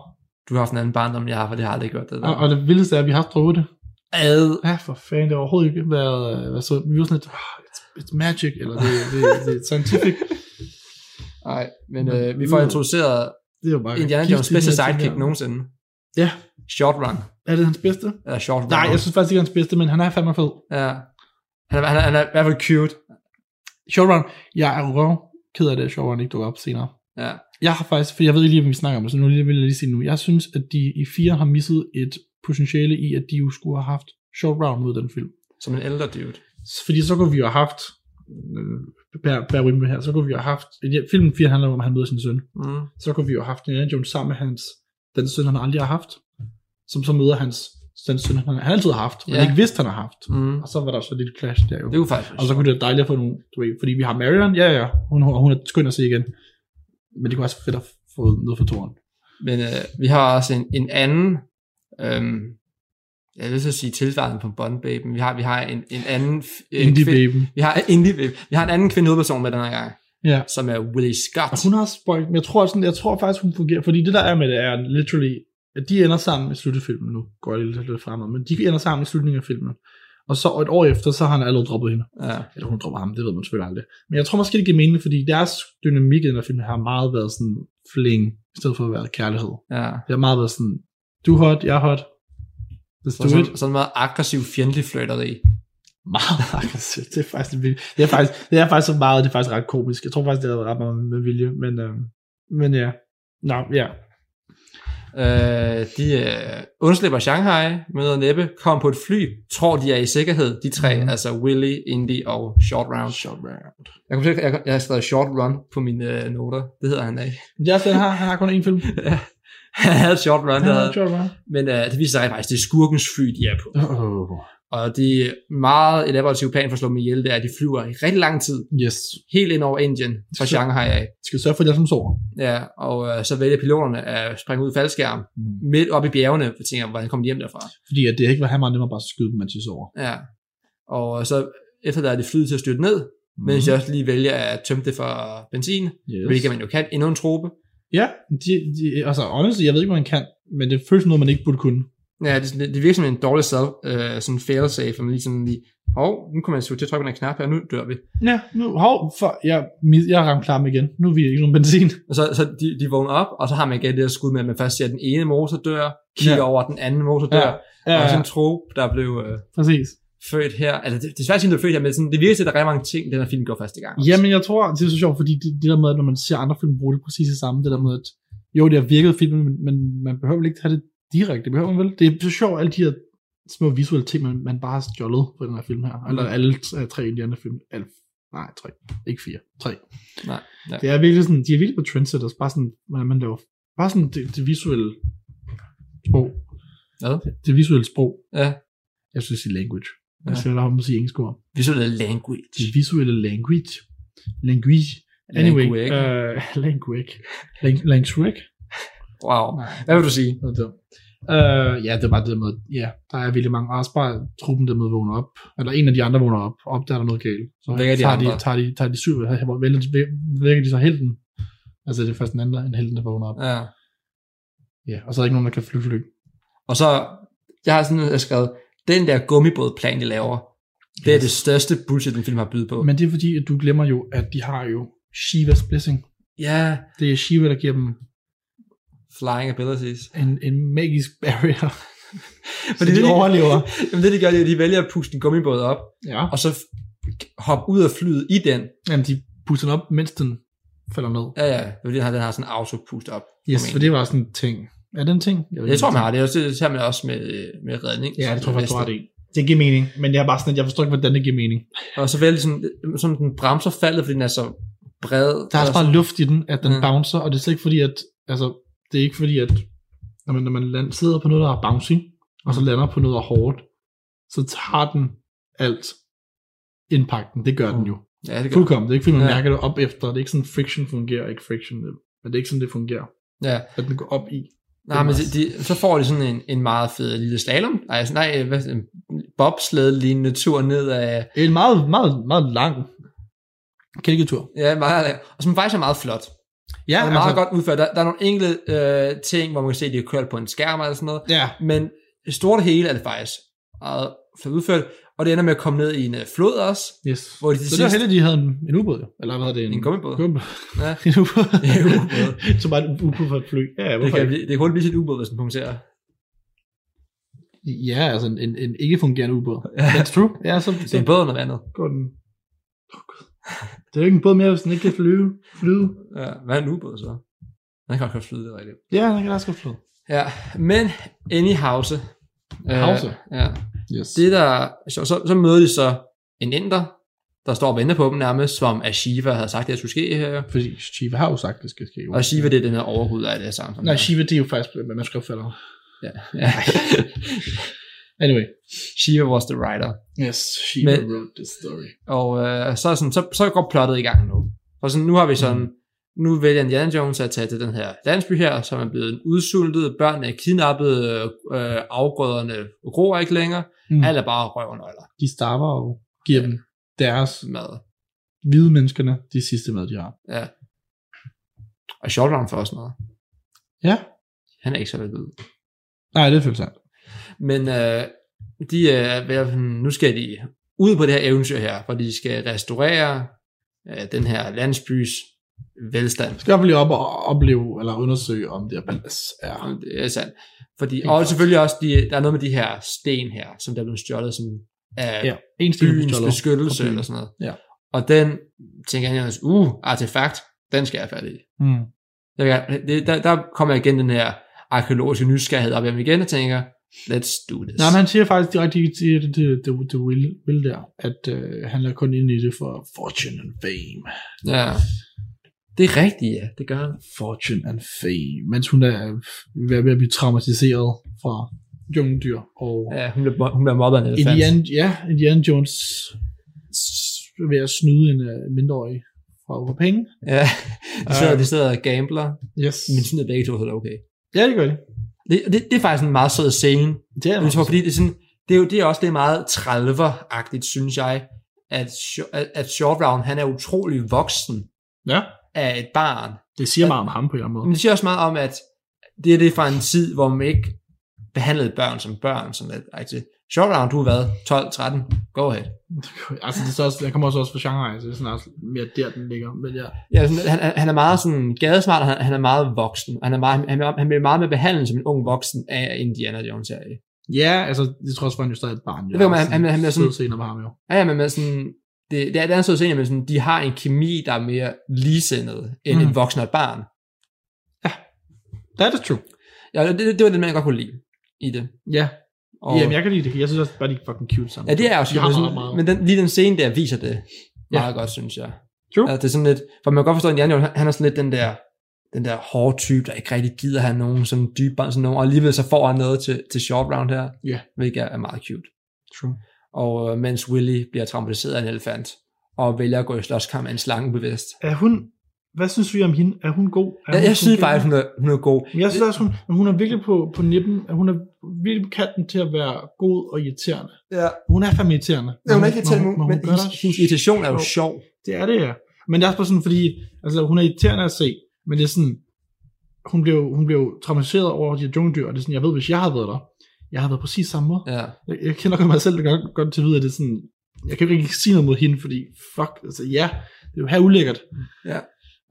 [SPEAKER 3] Du har haft en anden barndom, end jeg har, for det har aldrig gjort det der.
[SPEAKER 2] Og, og det vildeste er, at vi har prøvet det.
[SPEAKER 3] Ad.
[SPEAKER 2] Ja, for fanden, det har overhovedet ikke været, øh, været så, vi var sådan lidt, oh, it's, it's magic, eller det, det, det er scientific.
[SPEAKER 3] Nej, men øh, vi får
[SPEAKER 2] Mm.
[SPEAKER 3] introduceret
[SPEAKER 2] Det er jo bare...
[SPEAKER 3] Indiana
[SPEAKER 2] gift
[SPEAKER 3] Jones
[SPEAKER 2] til den
[SPEAKER 3] bedste
[SPEAKER 2] her ting
[SPEAKER 3] sidekick
[SPEAKER 2] her.
[SPEAKER 3] nogensinde.
[SPEAKER 2] Ja.
[SPEAKER 3] Short run.
[SPEAKER 2] Er det hans bedste?
[SPEAKER 3] Eller short run.
[SPEAKER 2] Nej, jeg synes faktisk ikke, han er hans bedste, men han er fandme fed.
[SPEAKER 3] Ja. Han er, han, er, han er i hvert fald cute.
[SPEAKER 2] Showrun, jeg er røv ked af det, at Showrun ikke dukker op senere.
[SPEAKER 3] Ja.
[SPEAKER 2] Jeg har faktisk, for jeg ved ikke lige, hvad vi snakker om, så nu vil jeg lige sige nu, jeg synes, at de i fire har misset et potentiale i, at de jo skulle have haft Showrun ud af den film.
[SPEAKER 3] Som en ældre dude.
[SPEAKER 2] Fordi så kunne vi jo have haft, øh, bær, bær with me her, så kunne vi jo have haft, ja, filmen 4 handler om, at han møder sin søn.
[SPEAKER 3] Mm.
[SPEAKER 2] så kunne vi jo have haft Indiana Jones sammen med hans, den søn, han aldrig har haft, som så møder hans, den søn, han han altid har haft, men
[SPEAKER 3] Ja.
[SPEAKER 2] ikke vidste, han har haft.
[SPEAKER 3] Mm.
[SPEAKER 2] Og så var der så lidt clash der jo.
[SPEAKER 3] Det kunne faktisk
[SPEAKER 2] Og så kunne det være dejligt at få nogle, du ved, fordi vi har Marion, ja ja, hun, hun, hun er skøn at se igen. Men det kunne også være fedt at få noget for toren.
[SPEAKER 3] Men øh, vi har også en, en anden, øhm, jeg vil så sige tilsvarende på Bond Babe, men vi har, vi har en, en anden... f- øh,
[SPEAKER 2] Indie
[SPEAKER 3] kvinde-
[SPEAKER 2] baby.
[SPEAKER 3] Vi har, indie babe. Vi har en anden kvinde hovedperson med den her gang,
[SPEAKER 2] Ja.
[SPEAKER 3] som er Willie Scott.
[SPEAKER 2] Og hun har spøjt, men jeg tror, sådan, jeg tror faktisk, hun fungerer, fordi det der er med det er literally, at de ender sammen i sluttefilmen nu, går jeg lidt, lidt fremad, men de ender sammen i slutningen af filmen. Og så et år efter, så har han allerede droppet hende.
[SPEAKER 3] Ja.
[SPEAKER 2] eller hun dropper ham, det ved man selvfølgelig aldrig. Men jeg tror måske, det giver mening, fordi deres dynamik i den her film har meget været sådan fling, i stedet for at være kærlighed.
[SPEAKER 3] ja.
[SPEAKER 2] Det har meget været sådan, du er hot, jeg er hot. Let's
[SPEAKER 3] Så
[SPEAKER 2] do it.
[SPEAKER 3] sådan, sådan meget aggressiv, fjendtlig flirteri.
[SPEAKER 2] <laughs> Meget aggressivt. Det er faktisk, lidt vildt. det er faktisk, det er faktisk så meget, det er faktisk ret komisk. Jeg tror faktisk, det har været ret meget med vilje, men øh, Men ja. Nå, ja.
[SPEAKER 3] Øh, de øh, undslipper Shanghai, møder Neppe, kommer på et fly, tror de er i sikkerhed, de tre,
[SPEAKER 2] Mhm.
[SPEAKER 3] mm. altså Willy, Indy og Short Round.
[SPEAKER 2] Short round.
[SPEAKER 3] Jeg, kunne, jeg, jeg har skrevet Short Run på mine øh, noter, det hedder han da ikke. <laughs>
[SPEAKER 2] Men det er også, den har, han har kun én film.
[SPEAKER 3] han havde Short Run,
[SPEAKER 2] Han
[SPEAKER 3] der
[SPEAKER 2] har
[SPEAKER 3] havde,
[SPEAKER 2] short round.
[SPEAKER 3] men øh, det viser sig faktisk, det er skurkens fly, de er på.
[SPEAKER 2] Oh,
[SPEAKER 3] Øh. Og de meget elaborative plan for at slå dem ihjel, det er, at de flyver i rigtig lang tid,
[SPEAKER 2] yes.
[SPEAKER 3] helt ind over Indien fra
[SPEAKER 2] Så-
[SPEAKER 3] Shanghai af.
[SPEAKER 2] Skal sørge for, at jeg som sover.
[SPEAKER 3] Ja, og øh, så vælger piloterne at springe ud i faldskærm
[SPEAKER 2] Mm.
[SPEAKER 3] midt op i bjergene, for tænker, hvordan kom de hjem derfra?
[SPEAKER 2] Fordi at det ikke var, han var nemmere bare at skyde dem, mens de sover.
[SPEAKER 3] Ja. Og øh, så efter der er de flyet til at styrte ned, mm. mens jeg også lige vælger at tømme det for benzin, yes.
[SPEAKER 2] Mhm. yes.
[SPEAKER 3] hvilket man jo kan, endnu en trope.
[SPEAKER 2] Ja, de, de, altså honestly, jeg ved ikke, hvad man kan, men det føles som noget, man ikke burde kunne.
[SPEAKER 3] Ja, det, det virker som en dårlig selv, øh, sådan fail-safe, for man lige sådan lige, hov, nu kommer jeg til at trykke på den her knap her, nu dør vi.
[SPEAKER 2] Ja, nu, hov, for, jeg, mis- jeg ramte klar igen. Nu er vi ikke nogen benzin.
[SPEAKER 3] Og så, så de, de vågner op, og så har man igen det der skud med, at man først ser den ene motor dør, kigger
[SPEAKER 2] Ja.
[SPEAKER 3] ja. over den anden motor dør, ja.
[SPEAKER 2] ja,
[SPEAKER 3] og
[SPEAKER 2] ja,
[SPEAKER 3] sådan en trope, der blev øh,
[SPEAKER 2] præcis.
[SPEAKER 3] født her. Altså, det, det er svært at sige, om det er født her, men sådan, det virker til, at der er rigtig mange ting, den her film går første gang.
[SPEAKER 2] Jamen, jeg tror, det er så sjovt, fordi det, det der med, at når man ser andre film, bruger det præcis det samme. Det der med, at jo, det har virket filmen, men, men man behøver vel ikke have det direkte. Det behøver man vel? Det er så sjovt, alle de her små visuelle ting, man, man bare har stjålet på den her film her. Eller alle uh, tre i de andre film. Alle, nej, tre. Ikke fire. Tre.
[SPEAKER 3] Nej, ja.
[SPEAKER 2] Det er virkelig sådan, de er virkelig på trendsetters. Bare sådan, hvordan man laver. Bare sådan det, det visuelle sprog.
[SPEAKER 3] Hvad?
[SPEAKER 2] Det visuelle sprog.
[SPEAKER 3] Ja.
[SPEAKER 2] Jeg synes, det er language. Ja. Jeg
[SPEAKER 3] Ja.
[SPEAKER 2] skal lade ham sige engelsk ord.
[SPEAKER 3] Visual language.
[SPEAKER 2] Det visuelle language. Language. Anyway,
[SPEAKER 3] Language.
[SPEAKER 2] øh,
[SPEAKER 3] uh,
[SPEAKER 2] <laughs> language. Lang- Language.
[SPEAKER 3] Wow.
[SPEAKER 2] Nej,
[SPEAKER 3] Hvad vil du sige?
[SPEAKER 2] det var dumt. Øh, ja, det var det der med, ja, der er virkelig mange, og også bare truppen der med vågner op, eller en af de andre vågner op, og opdager der er noget galt. Så
[SPEAKER 3] Vækker de
[SPEAKER 2] tager, de,
[SPEAKER 3] andre.
[SPEAKER 2] tager, de, tager de syv, hvor vælger de- væ- vækker de så helten. Altså det er først den anden, en helten, der vågner op.
[SPEAKER 3] Ja.
[SPEAKER 2] Ja, og så er der ikke nogen, der kan fly fly.
[SPEAKER 3] Og så, jeg har sådan noget, jeg har skrevet, den der gummibådplan, de laver, det er
[SPEAKER 2] Yes.
[SPEAKER 3] det største bullshit, den film har bydet på.
[SPEAKER 2] Men det er fordi, at du glemmer jo, at de har jo Shivas blessing.
[SPEAKER 3] Ja,
[SPEAKER 2] Det er Shiva, der giver dem
[SPEAKER 3] flying abilities.
[SPEAKER 2] <laughs> en, en magisk barrier, så
[SPEAKER 3] <laughs> Fordi
[SPEAKER 2] de
[SPEAKER 3] det, de,
[SPEAKER 2] <laughs> overlever.
[SPEAKER 3] jamen det, de gør, det er, at de vælger at puste en gummibåd op,
[SPEAKER 2] Ja.
[SPEAKER 3] og så f- hoppe ud af flyet i den.
[SPEAKER 2] Jamen, de puster den op, mens den falder ned.
[SPEAKER 3] Ja, ja, det er fordi, den har, den har sådan en autopust op.
[SPEAKER 2] Yes,
[SPEAKER 3] formentlig.
[SPEAKER 2] for det var sådan en ting. Er det en ting? ved
[SPEAKER 3] Jeg
[SPEAKER 2] ikke,
[SPEAKER 3] tror, man
[SPEAKER 2] om
[SPEAKER 3] har det. Også, det tager man også med, med redning.
[SPEAKER 2] det er. Ja, det tror jeg faktisk, du har
[SPEAKER 3] det.
[SPEAKER 2] det i. Det giver mening, men jeg er bare sådan, at jeg forstår ikke, hvordan det giver mening.
[SPEAKER 3] Og så vælger sådan, sådan den bremser faldet, fordi den er så bred.
[SPEAKER 2] Der er også bare luft i den, at den
[SPEAKER 3] Mm.
[SPEAKER 2] bouncer, og det er slet ikke fordi, at, altså, det er ikke fordi, at når man, når man land, sidder på noget, der er bouncy, og så
[SPEAKER 3] Mm.
[SPEAKER 2] lander på noget, der er hårdt, så tager den alt indpakten. Det gør den jo.
[SPEAKER 3] Ja, Mm. det gør.
[SPEAKER 2] Fuldkommen. Det er ikke fordi, man
[SPEAKER 3] Ja.
[SPEAKER 2] mærker det op efter. Det er ikke sådan, friction fungerer, ikke friction. Men det er ikke sådan, det fungerer.
[SPEAKER 3] Ja.
[SPEAKER 2] At den går op i.
[SPEAKER 3] Nej, men de, de, så får de sådan en, en meget fed lille slalom. Nej, altså, nej hvad, en bobsled-lignende tur ned af...
[SPEAKER 2] Det er en meget, meget, meget lang kælketur.
[SPEAKER 3] Ja, meget, og som faktisk er meget flot.
[SPEAKER 2] Ja,
[SPEAKER 3] Ja, og meget altså, godt udført. Der, der er nogle enkelte øh, ting, hvor man kan se, at de har kørt på en skærm eller sådan noget.
[SPEAKER 2] Ja,
[SPEAKER 3] Men det store det hele er det faktisk meget flot udført. Og det ender med at komme ned i en øh, flod også.
[SPEAKER 2] yes.
[SPEAKER 3] Hvor de til
[SPEAKER 2] så det var
[SPEAKER 3] sidst-
[SPEAKER 2] heldigt, at de havde en, en ubåd, jo. Eller hvad hedder det?
[SPEAKER 3] En gummibåd.
[SPEAKER 2] Gummibåd.
[SPEAKER 3] Ja.
[SPEAKER 2] <laughs> en ubåd.
[SPEAKER 3] Ja, <laughs> en
[SPEAKER 2] <laughs>
[SPEAKER 3] ubåd.
[SPEAKER 2] så bare en ubåd for et fly. Ja,
[SPEAKER 3] Det
[SPEAKER 2] hvorfor
[SPEAKER 3] kan,
[SPEAKER 2] ikke?
[SPEAKER 3] blive, det kan hurtigt blive til et ubåd, hvis den punkterer.
[SPEAKER 2] Ja, altså en, en, en ikke fungerende ubåd.
[SPEAKER 3] Ja.
[SPEAKER 2] That's true. Ja, så,
[SPEAKER 3] Det
[SPEAKER 2] så
[SPEAKER 3] er en båd under vandet.
[SPEAKER 2] går den. Åh, Gud. Det er jo ikke en båd mere, hvis den ikke kan flyve. flyve.
[SPEAKER 3] Ja, hvad er en ubåd så? Den kan godt flyde, det er rigtigt.
[SPEAKER 2] Ja, den kan også godt flyve.
[SPEAKER 3] Ja, men anyhowse.
[SPEAKER 2] Hause?
[SPEAKER 3] Øh, ja.
[SPEAKER 2] Yes. Det,
[SPEAKER 3] det der, så, så, så møder de så en inder, der står og venter på dem nærmest, som Ashiva havde sagt, det skulle ske her.
[SPEAKER 2] fordi Shiva har jo sagt, det skal ske.
[SPEAKER 3] Og Ashiva, det er den her overhoved af det her samfund.
[SPEAKER 2] Nej, Shiva, det er jo faktisk, hvad man skal opfatte.
[SPEAKER 3] Ja. ja. <laughs>
[SPEAKER 2] Anyway.
[SPEAKER 3] Shiva was the writer.
[SPEAKER 2] Yes, Shiva
[SPEAKER 3] Men-
[SPEAKER 2] wrote this story.
[SPEAKER 3] Og øh, så, er sådan, så, så går plottet i gang nu. Og sådan, nu har vi sådan, nu vælger Indiana Jones at tage til den her landsby her, som er blevet udsultet, børnene er kidnappet, øh, øh, afgrøderne gror ikke længere,
[SPEAKER 2] Mm.
[SPEAKER 3] mm. alt er bare røven eller
[SPEAKER 2] De starter og giver dem deres
[SPEAKER 3] mad.
[SPEAKER 2] hvide menneskerne de sidste mad, de har.
[SPEAKER 3] Ja. Og Shortland får også noget.
[SPEAKER 2] Ja.
[SPEAKER 3] Han er ikke så lidt ud.
[SPEAKER 2] Nej, det er selvfølgelig sandt.
[SPEAKER 3] Men øh, de er, ved at- hmm, nu skal de ud på det her eventyr her, hvor de skal restaurere øh, den her landsbys velstand.
[SPEAKER 2] Skal vi lige op og opleve, eller undersøge, om det er palads er.
[SPEAKER 3] Og Det er sandt. Fordi,
[SPEAKER 2] Helt
[SPEAKER 3] og
[SPEAKER 2] klart.
[SPEAKER 3] selvfølgelig også, de, der er noget med de her sten her, som der er blevet stjålet som af ja,
[SPEAKER 2] en
[SPEAKER 3] byens beskyttelse
[SPEAKER 2] Fra byen.
[SPEAKER 3] eller sådan noget.
[SPEAKER 2] Ja.
[SPEAKER 3] altså, Og den, tænker han, uh, artefakt, den skal jeg have fat i.
[SPEAKER 2] Mm.
[SPEAKER 3] Jeg, vil- det, der, der kommer igen den her arkeologiske nysgerrighed op i ham igen og tænker, let's do this.
[SPEAKER 2] Nej, men han siger faktisk direkte til det, det, det, det Will, Will der, at øh, han er kun inde i det for fortune and fame.
[SPEAKER 3] ja. Det er rigtigt, ja. Det gør han.
[SPEAKER 2] Fortune and fame. Mens hun er øh, ved at blive traumatiseret fra jungdyr og
[SPEAKER 3] Ja, hun bliver, hun bliver mobbet af en elefant.
[SPEAKER 2] Indiana, ja, Indiana Jones s- ved at snyde en uh, mindreårig for, for penge.
[SPEAKER 3] Ja, <laughs> de sidder,
[SPEAKER 2] Øhm.
[SPEAKER 3] de sidder og gambler,
[SPEAKER 2] Yes.
[SPEAKER 3] men sådan er begge to, så er det okay.
[SPEAKER 2] Ja, det gør det. Det,
[SPEAKER 3] Det, det, det er faktisk en meget sød scene.
[SPEAKER 2] det er
[SPEAKER 3] Jeg tror, fordi det er, sådan, det er jo det er også det er meget trælveragtigt, synes jeg, at, Sho- at- at Short Round, han er utrolig voksen
[SPEAKER 2] Ja,
[SPEAKER 3] af et barn.
[SPEAKER 2] det siger meget om ham på en eller anden måde.
[SPEAKER 3] Men det siger også meget om, at det er det er fra en tid, hvor man ikke behandlede børn som børn. Som at, altså, Short Round, du har været 12-13. Go ahead.
[SPEAKER 2] Altså, det er så også, den kommer så også fra genre, så det er sådan også mere der, den ligger. Men ja,
[SPEAKER 3] Ja, sådan, han, han- han er meget sådan gadesmart, og han, han er meget voksen. Og han, er meget, han, er- han bliver meget med behandlet som en ung voksen af Indiana Jones serie.
[SPEAKER 2] ja altså, det tror jeg også, var han jo stadig et barn. Jo.
[SPEAKER 3] Det ved man, han- han- han er sådan-
[SPEAKER 2] Sød scener med ham jo.
[SPEAKER 3] Ja, ja, men man sådan, det, det er et andet sådan, men sådan, de har en kemi, der er mere ligesindet end mm.
[SPEAKER 2] Mhm.
[SPEAKER 3] en voksen og et barn.
[SPEAKER 2] That is true.
[SPEAKER 3] Ja, det, det, det var det, man godt kunne lide i det.
[SPEAKER 2] Ja,
[SPEAKER 3] Og,
[SPEAKER 2] Jamen, jeg kan lide det. Jeg synes også bare, de er fucking cute sammen.
[SPEAKER 3] ja, det er også
[SPEAKER 2] De har
[SPEAKER 3] men
[SPEAKER 2] meget,
[SPEAKER 3] sådan,
[SPEAKER 2] meget.
[SPEAKER 3] men den, lige den scene der viser det
[SPEAKER 2] Ja.
[SPEAKER 3] meget godt, synes jeg.
[SPEAKER 2] True.
[SPEAKER 3] Altså, det er sådan lidt, for man kan godt forstå, at Jan Jørgen, han han er sådan lidt den der, den der hårde type, der ikke rigtig gider have nogen sådan dybe bånd, sådan nogen, og alligevel så får han noget til, til short round her,
[SPEAKER 2] Ja.
[SPEAKER 3] hvilket er er meget cute.
[SPEAKER 2] True.
[SPEAKER 3] Og øh, mens Willy bliver traumatiseret af en elefant, og vælger at gå i slåskamp af en slange bevidst.
[SPEAKER 2] Er hun... Hvad synes vi om hende? Er hun god? Er
[SPEAKER 3] Jeg,
[SPEAKER 2] hun
[SPEAKER 3] jeg synes
[SPEAKER 2] fungerende?
[SPEAKER 3] faktisk, hun er, hun er god.
[SPEAKER 2] Men jeg synes også, hun, hun er virkelig på, på nippen. at Hun er virkelig på kanten til at være god og irriterende.
[SPEAKER 3] Ja,
[SPEAKER 2] Hun er fandme irriterende.
[SPEAKER 3] Ja, hun er
[SPEAKER 2] Men
[SPEAKER 3] ikke irriterende,
[SPEAKER 2] men hun,
[SPEAKER 3] men
[SPEAKER 2] men hun gør
[SPEAKER 3] hendes,
[SPEAKER 2] det.
[SPEAKER 3] hendes irritation er jo
[SPEAKER 2] sjovt.
[SPEAKER 3] sjov.
[SPEAKER 2] Det er det, ja. Men det er også bare sådan, fordi altså, hun er irriterende at se, men det er sådan, hun blev, hun blev traumatiseret over de her jungledyr, og det er sådan, jeg ved, hvis jeg havde været der, jeg havde været præcis samme måde.
[SPEAKER 3] Ja.
[SPEAKER 2] Jeg, jeg kender godt mig selv godt, godt til at vide, at det er sådan, jeg kan ikke sige noget mod hende, fordi fuck, altså ja, det er jo her ulækkert.
[SPEAKER 3] Ja.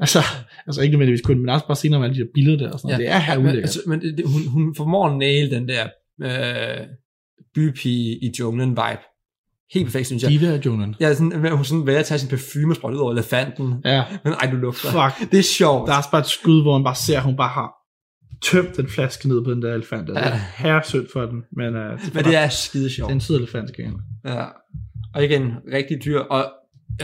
[SPEAKER 2] Altså, altså ikke nødvendigvis kun, men også bare senere med alle de her billeder der og sådan
[SPEAKER 3] Ja.
[SPEAKER 2] ja. Det er her
[SPEAKER 3] Men,
[SPEAKER 2] ulækkert.
[SPEAKER 3] altså, men det, det- hun, hun formår at næle den der øh, bypige i junglen vibe. Helt perfekt, synes jeg.
[SPEAKER 2] Diva og Jonan.
[SPEAKER 3] Ja, sådan, hvor hun sådan vælger at tage sin parfume og sprøjte ud over elefanten.
[SPEAKER 2] Ja,
[SPEAKER 3] Men ej, du lugter.
[SPEAKER 2] fuck.
[SPEAKER 3] Det er sjovt.
[SPEAKER 2] Der er også bare et skud, hvor man bare ser, at hun bare har tømt den flaske ned på den der elefant. og Det
[SPEAKER 3] Ja.
[SPEAKER 2] er herresødt for den, men, uh,
[SPEAKER 3] men det er skide sjovt.
[SPEAKER 2] Det er en sød elefant, skal jeg.
[SPEAKER 3] Ja. Og igen, rigtig dyr. Og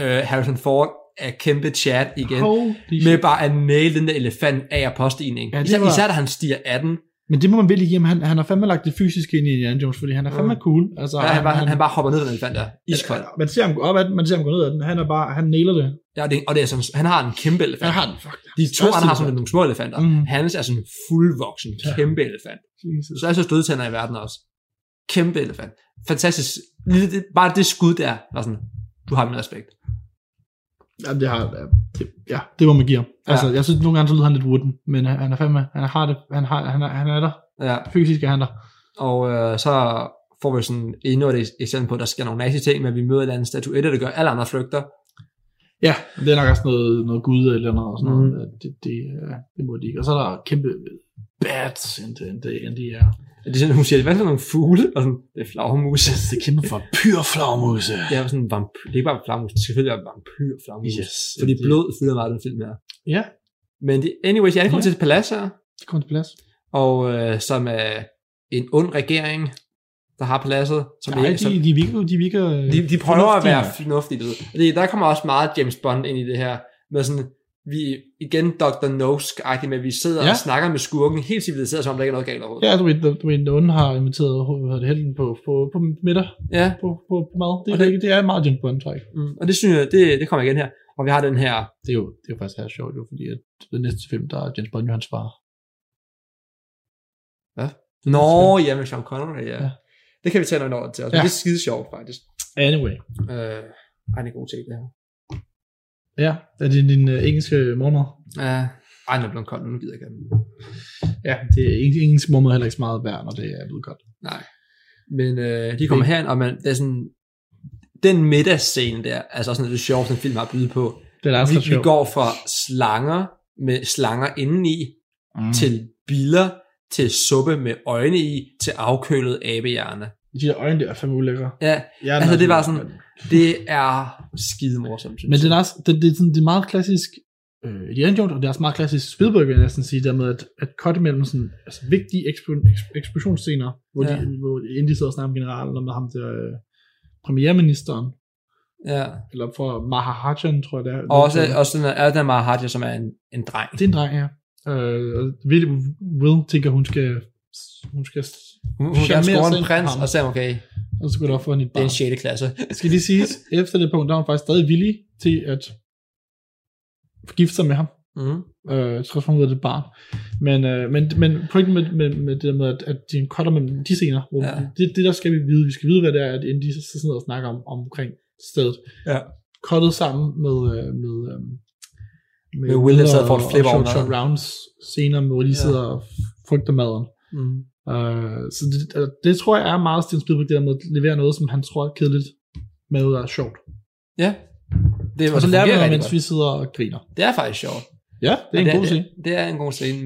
[SPEAKER 3] øh, Harrison Ford er kæmpe chat igen.
[SPEAKER 2] Holy
[SPEAKER 3] Med
[SPEAKER 2] shit.
[SPEAKER 3] bare at næle den der elefant af og påstigning.
[SPEAKER 2] Ja, det
[SPEAKER 3] især,
[SPEAKER 2] var-
[SPEAKER 3] især da han stiger 18.
[SPEAKER 2] Men det må man virkelig give ham. Han, han har fandme lagt det fysiske ind i Indiana Jones, fordi han er fandme
[SPEAKER 3] Mm.
[SPEAKER 2] cool. Altså,
[SPEAKER 3] Ja, han, bare, han, han bare hopper ned den elefant der. Iskold.
[SPEAKER 2] Man ser ham gå op ad den, man ser ham gå ned ad den. Han er bare, han nailer det.
[SPEAKER 3] Ja, det, og det er sådan, han har en kæmpe elefant.
[SPEAKER 2] Han har den, fuck.
[SPEAKER 3] De to
[SPEAKER 2] Største
[SPEAKER 3] andre har sådan
[SPEAKER 2] elefant.
[SPEAKER 3] nogle små elefanter. Mm.
[SPEAKER 2] Mhm.
[SPEAKER 3] Hans er sådan en fuldvoksen,
[SPEAKER 2] Ja.
[SPEAKER 3] kæmpe elefant.
[SPEAKER 2] Jesus.
[SPEAKER 3] Så er så stødtænder i verden også. Kæmpe elefant. Fantastisk. Lige det- Bare det skud der var sådan, du har min respekt.
[SPEAKER 2] Jamen, det har, ja, det, ja, det må man give ham. Altså,
[SPEAKER 3] Ja.
[SPEAKER 2] jeg synes, nogle gange så lyder han lidt wooden, men han han er fandme, han har det, han, har, han, er, han er der.
[SPEAKER 3] Ja.
[SPEAKER 2] Fysisk er han der.
[SPEAKER 3] Og øh, så får vi sådan endnu et eksempel på, at der sker nogle nazi ting, men vi møder en eller anden statuette, der gør alle andre flygter.
[SPEAKER 2] Ja, det er nok også noget, noget gud eller noget, og sådan
[SPEAKER 3] Mhm.
[SPEAKER 2] noget. Mm. Det, det, øh, det må de ikke. Og så er der kæmpe bats, end det, end det, end det er.
[SPEAKER 3] Det er sådan, hun siger, hvad er det for nogle fugle? Og sådan, det er flagermus. <laughs>
[SPEAKER 2] Det er kæmpe for pyrflagmuse.
[SPEAKER 3] Det er jo sådan en vampyr. Det er ikke bare flagermus, det skal selvfølgelig være vampyr yes.
[SPEAKER 2] Yes.
[SPEAKER 3] Fordi
[SPEAKER 2] det-
[SPEAKER 3] blod fylder meget i den film her.
[SPEAKER 2] Ja,
[SPEAKER 3] Men det, anyways, jeg ankommer
[SPEAKER 2] Ja.
[SPEAKER 3] til et palads her.
[SPEAKER 2] det kommer til plads.
[SPEAKER 3] og øh, som er en ond regering, der har paladset. Som
[SPEAKER 2] Nej,
[SPEAKER 3] ikke, som,
[SPEAKER 2] de, de virker, de virker øh,
[SPEAKER 3] de, de prøver at være
[SPEAKER 2] fornuftige.
[SPEAKER 3] fornuftige. du ved. Og det, der kommer også meget James Bond ind i det her, med sådan, vi igen Dr. Nosk-agtigt, men vi sidder ja.
[SPEAKER 2] Ja.
[SPEAKER 3] og snakker med skurken, helt civiliseret, som om der ikke er noget galt overhovedet.
[SPEAKER 2] Ja, du ved, du ved, Nogen har inviteret hvad hedder det helten på, på, på middag,
[SPEAKER 3] ja.
[SPEAKER 2] på, på, på mad. Det,
[SPEAKER 3] Og
[SPEAKER 2] er
[SPEAKER 3] det-
[SPEAKER 2] det, det er meget James Bond, tror jeg.
[SPEAKER 3] Mm. Og det synes jeg, det, det kommer igen her. Og vi har den her,
[SPEAKER 2] Det er jo, det er jo faktisk her sjovt, jo, fordi at den næste film, der er James Bond jo hans far.
[SPEAKER 3] Nå, ja, med Sean Connery, ja. ja.
[SPEAKER 2] Ja.
[SPEAKER 3] Det kan vi tage noget over til også, men
[SPEAKER 2] Ja.
[SPEAKER 3] det er skide sjovt faktisk.
[SPEAKER 2] Anyway.
[SPEAKER 3] Øh, ej, det er god til det her.
[SPEAKER 2] Ja, er det din øh, engelske mormor?
[SPEAKER 3] Ja. Ej, den er blevet kold, nu gider jeg ikke have den.
[SPEAKER 2] Ja, det er eng- engelsk mormor er heller ikke så meget værd, når det er blevet godt.
[SPEAKER 3] Nej. Men øh, de kommer herind, og man, det er sådan, den middagsscene der, altså også noget af det sjoveste, den film har at byde på.
[SPEAKER 2] Det er altså
[SPEAKER 3] Vi, vi går fra slanger med slanger indeni, mm. til biller, til suppe med øjne i, til afkølet abehjerne.
[SPEAKER 2] De der øjne der er fandme ulækre.
[SPEAKER 3] Ja,
[SPEAKER 2] Ja,
[SPEAKER 3] Altså, det var sådan- det er skide morsomt, synes
[SPEAKER 2] Men
[SPEAKER 3] jeg.
[SPEAKER 2] det er også, det, det, er sådan, det er meget klassisk øh, Indiana Jones, og det er også meget klassisk Spielberg, vil jeg næsten sige, der med at, at cut imellem sådan, altså vigtige ekspo- eks- eksplosionsscener, hvor, ja.
[SPEAKER 3] Ja.
[SPEAKER 2] de, hvor de- inden de sidder og snakker med generalen, og med ham der øh, premierministeren,
[SPEAKER 3] Ja.
[SPEAKER 2] eller for Mahajan, tror jeg det er.
[SPEAKER 3] Og også, også den der, er den Mahathir, som er en, en dreng.
[SPEAKER 2] Det er en dreng, ja. Øh, og Will, Will tænker, hun skal, hun skal,
[SPEAKER 3] Hun, hun kan
[SPEAKER 2] charmerer
[SPEAKER 3] score
[SPEAKER 2] selv
[SPEAKER 3] en prins,
[SPEAKER 2] ham.
[SPEAKER 3] og sagde, okay,
[SPEAKER 2] og så går der op for hende et
[SPEAKER 3] det er
[SPEAKER 2] barn.
[SPEAKER 3] en 6. klasse.
[SPEAKER 2] Skal lige siges, efter det punkt, der var hun faktisk stadig villig til at gifte sig med ham.
[SPEAKER 3] Mm.
[SPEAKER 2] Øh, trods for, hun ved det barn. Men, øh, men, men pointen med, med, med det der med, at, at de cutter med de scener, hvor ja.
[SPEAKER 3] Ja.
[SPEAKER 2] det, det, der skal vi vide, vi skal vide, hvad det er, at inden de så sidder og snakker om, omkring stedet.
[SPEAKER 3] Ja.
[SPEAKER 2] Cuttet sammen med, øh, med, øh,
[SPEAKER 3] Med Will, der sad for at flippe over
[SPEAKER 2] over Short
[SPEAKER 3] maden.
[SPEAKER 2] rounds scener, hvor de
[SPEAKER 3] Ja.
[SPEAKER 2] sidder og frygter maden.
[SPEAKER 3] Mm.
[SPEAKER 2] Øh, så det, altså, det, tror jeg er meget Steven Spielberg, det der med at levere noget, som han tror er kedeligt, men noget, der er sjovt.
[SPEAKER 3] Ja. Det,
[SPEAKER 2] Og så lærer vi
[SPEAKER 3] fungerer
[SPEAKER 2] noget,
[SPEAKER 3] rigtig
[SPEAKER 2] mens
[SPEAKER 3] godt.
[SPEAKER 2] vi sidder og griner.
[SPEAKER 3] Det er faktisk sjovt.
[SPEAKER 2] Ja, det er
[SPEAKER 3] Og
[SPEAKER 2] en god scene.
[SPEAKER 3] Det, det er en god scene.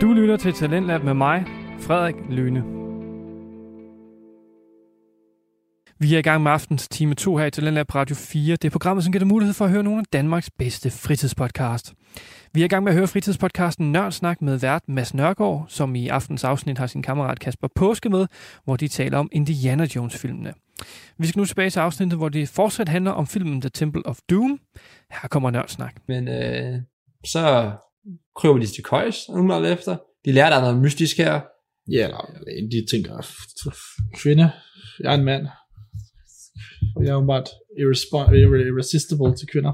[SPEAKER 1] Du lytter til Talentlab med mig, Frederik Lyne. Vi er i gang med aftens time 2 her i Talentlab på Radio 4. Det er programmet, som giver dig mulighed for at høre nogle af Danmarks bedste fritidspodcast. Vi er i gang med at høre fritidspodcasten Nørdsnak med vært Mads Nørgaard, som i aftens afsnit har sin kammerat Kasper Påske med, hvor de taler om Indiana Jones-filmene. Vi skal nu tilbage til afsnittet, hvor det fortsat handler om filmen The Temple of Doom. Her kommer Nørdsnak.
[SPEAKER 3] Men øh, så kryber de til køjs, umiddelbart efter. De lærer, der er noget mystisk her.
[SPEAKER 2] Ja, eller eller de tænker, "F- f- kvinde, jeg er en mand, og jeg er åbenbart irrespo- irre- irresistible til kvinder.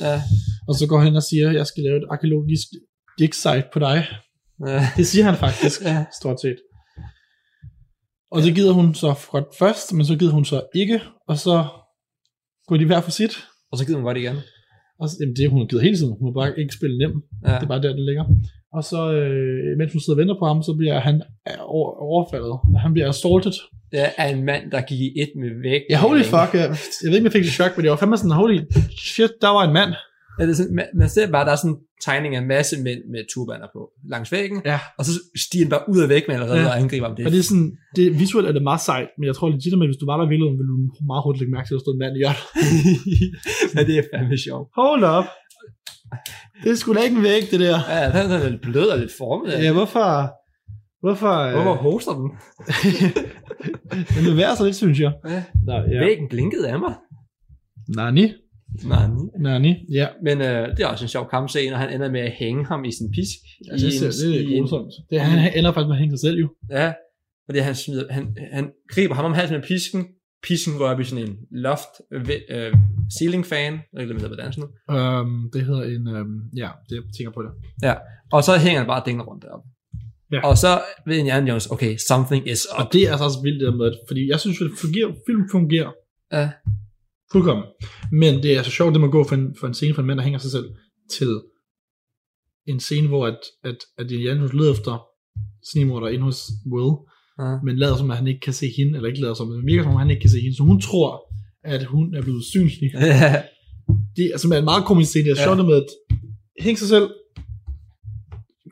[SPEAKER 3] Ja.
[SPEAKER 2] Og så går han hen og siger, jeg skal lave et arkeologisk dig site på dig.
[SPEAKER 3] Ja.
[SPEAKER 2] Det siger han faktisk,
[SPEAKER 3] Ja.
[SPEAKER 2] stort set. Og det gider hun så godt først, men så gider hun så ikke, og så går de hver for sit.
[SPEAKER 3] Og så gider hun godt igen.
[SPEAKER 2] Og så, jamen det hun gider hele tiden, hun må bare ikke spille nem.
[SPEAKER 3] Ja.
[SPEAKER 2] Det er bare der, den ligger. Og så, øh, mens hun sidder og venter på ham, så bliver han øh, over- overfaldet. Han bliver assaulted.
[SPEAKER 3] Det er en mand, der gik i et med væk.
[SPEAKER 2] Ja, holy fuck. Jeg, jeg ved ikke, om jeg fik et chok, men det var fandme sådan, holy shit, der var en mand.
[SPEAKER 3] Ja, det er sådan, man, man ser bare, der er sådan en tegning af en masse mænd med turbaner på langs væggen.
[SPEAKER 2] Ja.
[SPEAKER 3] Og så stiger den bare ud af væggen allerede
[SPEAKER 2] Ja.
[SPEAKER 3] ja. og angriber ham. Det, <laughs>
[SPEAKER 2] Og det er sådan, det, visuelt er det meget sejt, men jeg tror legit, at hvis du var der i virkeligheden, ville du meget hurtigt lægge mærke til, at der stod en mand i hjørnet.
[SPEAKER 3] Men det er fandme sjovt.
[SPEAKER 2] Hold up. Det skulle da ikke en væg, det der.
[SPEAKER 3] Ja, den er lidt blød og lidt formet. Ja.
[SPEAKER 2] Ja, hvorfor... Hvorfor... øh,
[SPEAKER 3] Hvorfor hoster den?
[SPEAKER 2] den bevæger sig lidt, synes jeg.
[SPEAKER 3] Ja.
[SPEAKER 2] Nej, ja.
[SPEAKER 3] Væggen blinkede af mig.
[SPEAKER 2] Nani.
[SPEAKER 3] Nej.
[SPEAKER 2] Nani. Ja.
[SPEAKER 3] Men øh, det er også en sjov kampscene, og han ender med at hænge ham i sin pisk.
[SPEAKER 2] Altså, Jeg synes,
[SPEAKER 3] i
[SPEAKER 2] det, det er
[SPEAKER 3] i en-
[SPEAKER 2] grusomt. Det, han ender faktisk med at hænge sig selv, jo.
[SPEAKER 3] Ja, fordi han, smider, han, han griber ham om halsen med pisken. Pisken går op i sådan en loft øh, ceiling fan, eller hvad hedder det, sådan noget.
[SPEAKER 2] Øhm, det hedder en... Øhm, ja, det jeg tænker på det.
[SPEAKER 3] Og så hænger han bare dængene rundt deroppe.
[SPEAKER 2] Ja.
[SPEAKER 3] Ja. Og så ved Indiana Jones, okay, something is
[SPEAKER 2] Og
[SPEAKER 3] up.
[SPEAKER 2] det er altså også vildt det der med, at- fordi jeg synes, at fungerer, film fungerer
[SPEAKER 3] Ja.
[SPEAKER 2] fuldkommen. Men det er altså sjovt, det må gå for en, for en scene for en mand, der hænger sig selv, til en scene, hvor at, at, at Indiana Jones leder efter snimorder ind hos Will,
[SPEAKER 3] Ja.
[SPEAKER 2] men lader som, at han ikke kan se hende, eller ikke lader som, men det virker som, om han ikke kan se hende, så hun tror, at hun er blevet synlig. Det altså, er simpelthen en meget komisk scene, det er
[SPEAKER 3] Ja.
[SPEAKER 2] sjovt det med, at hænge sig selv,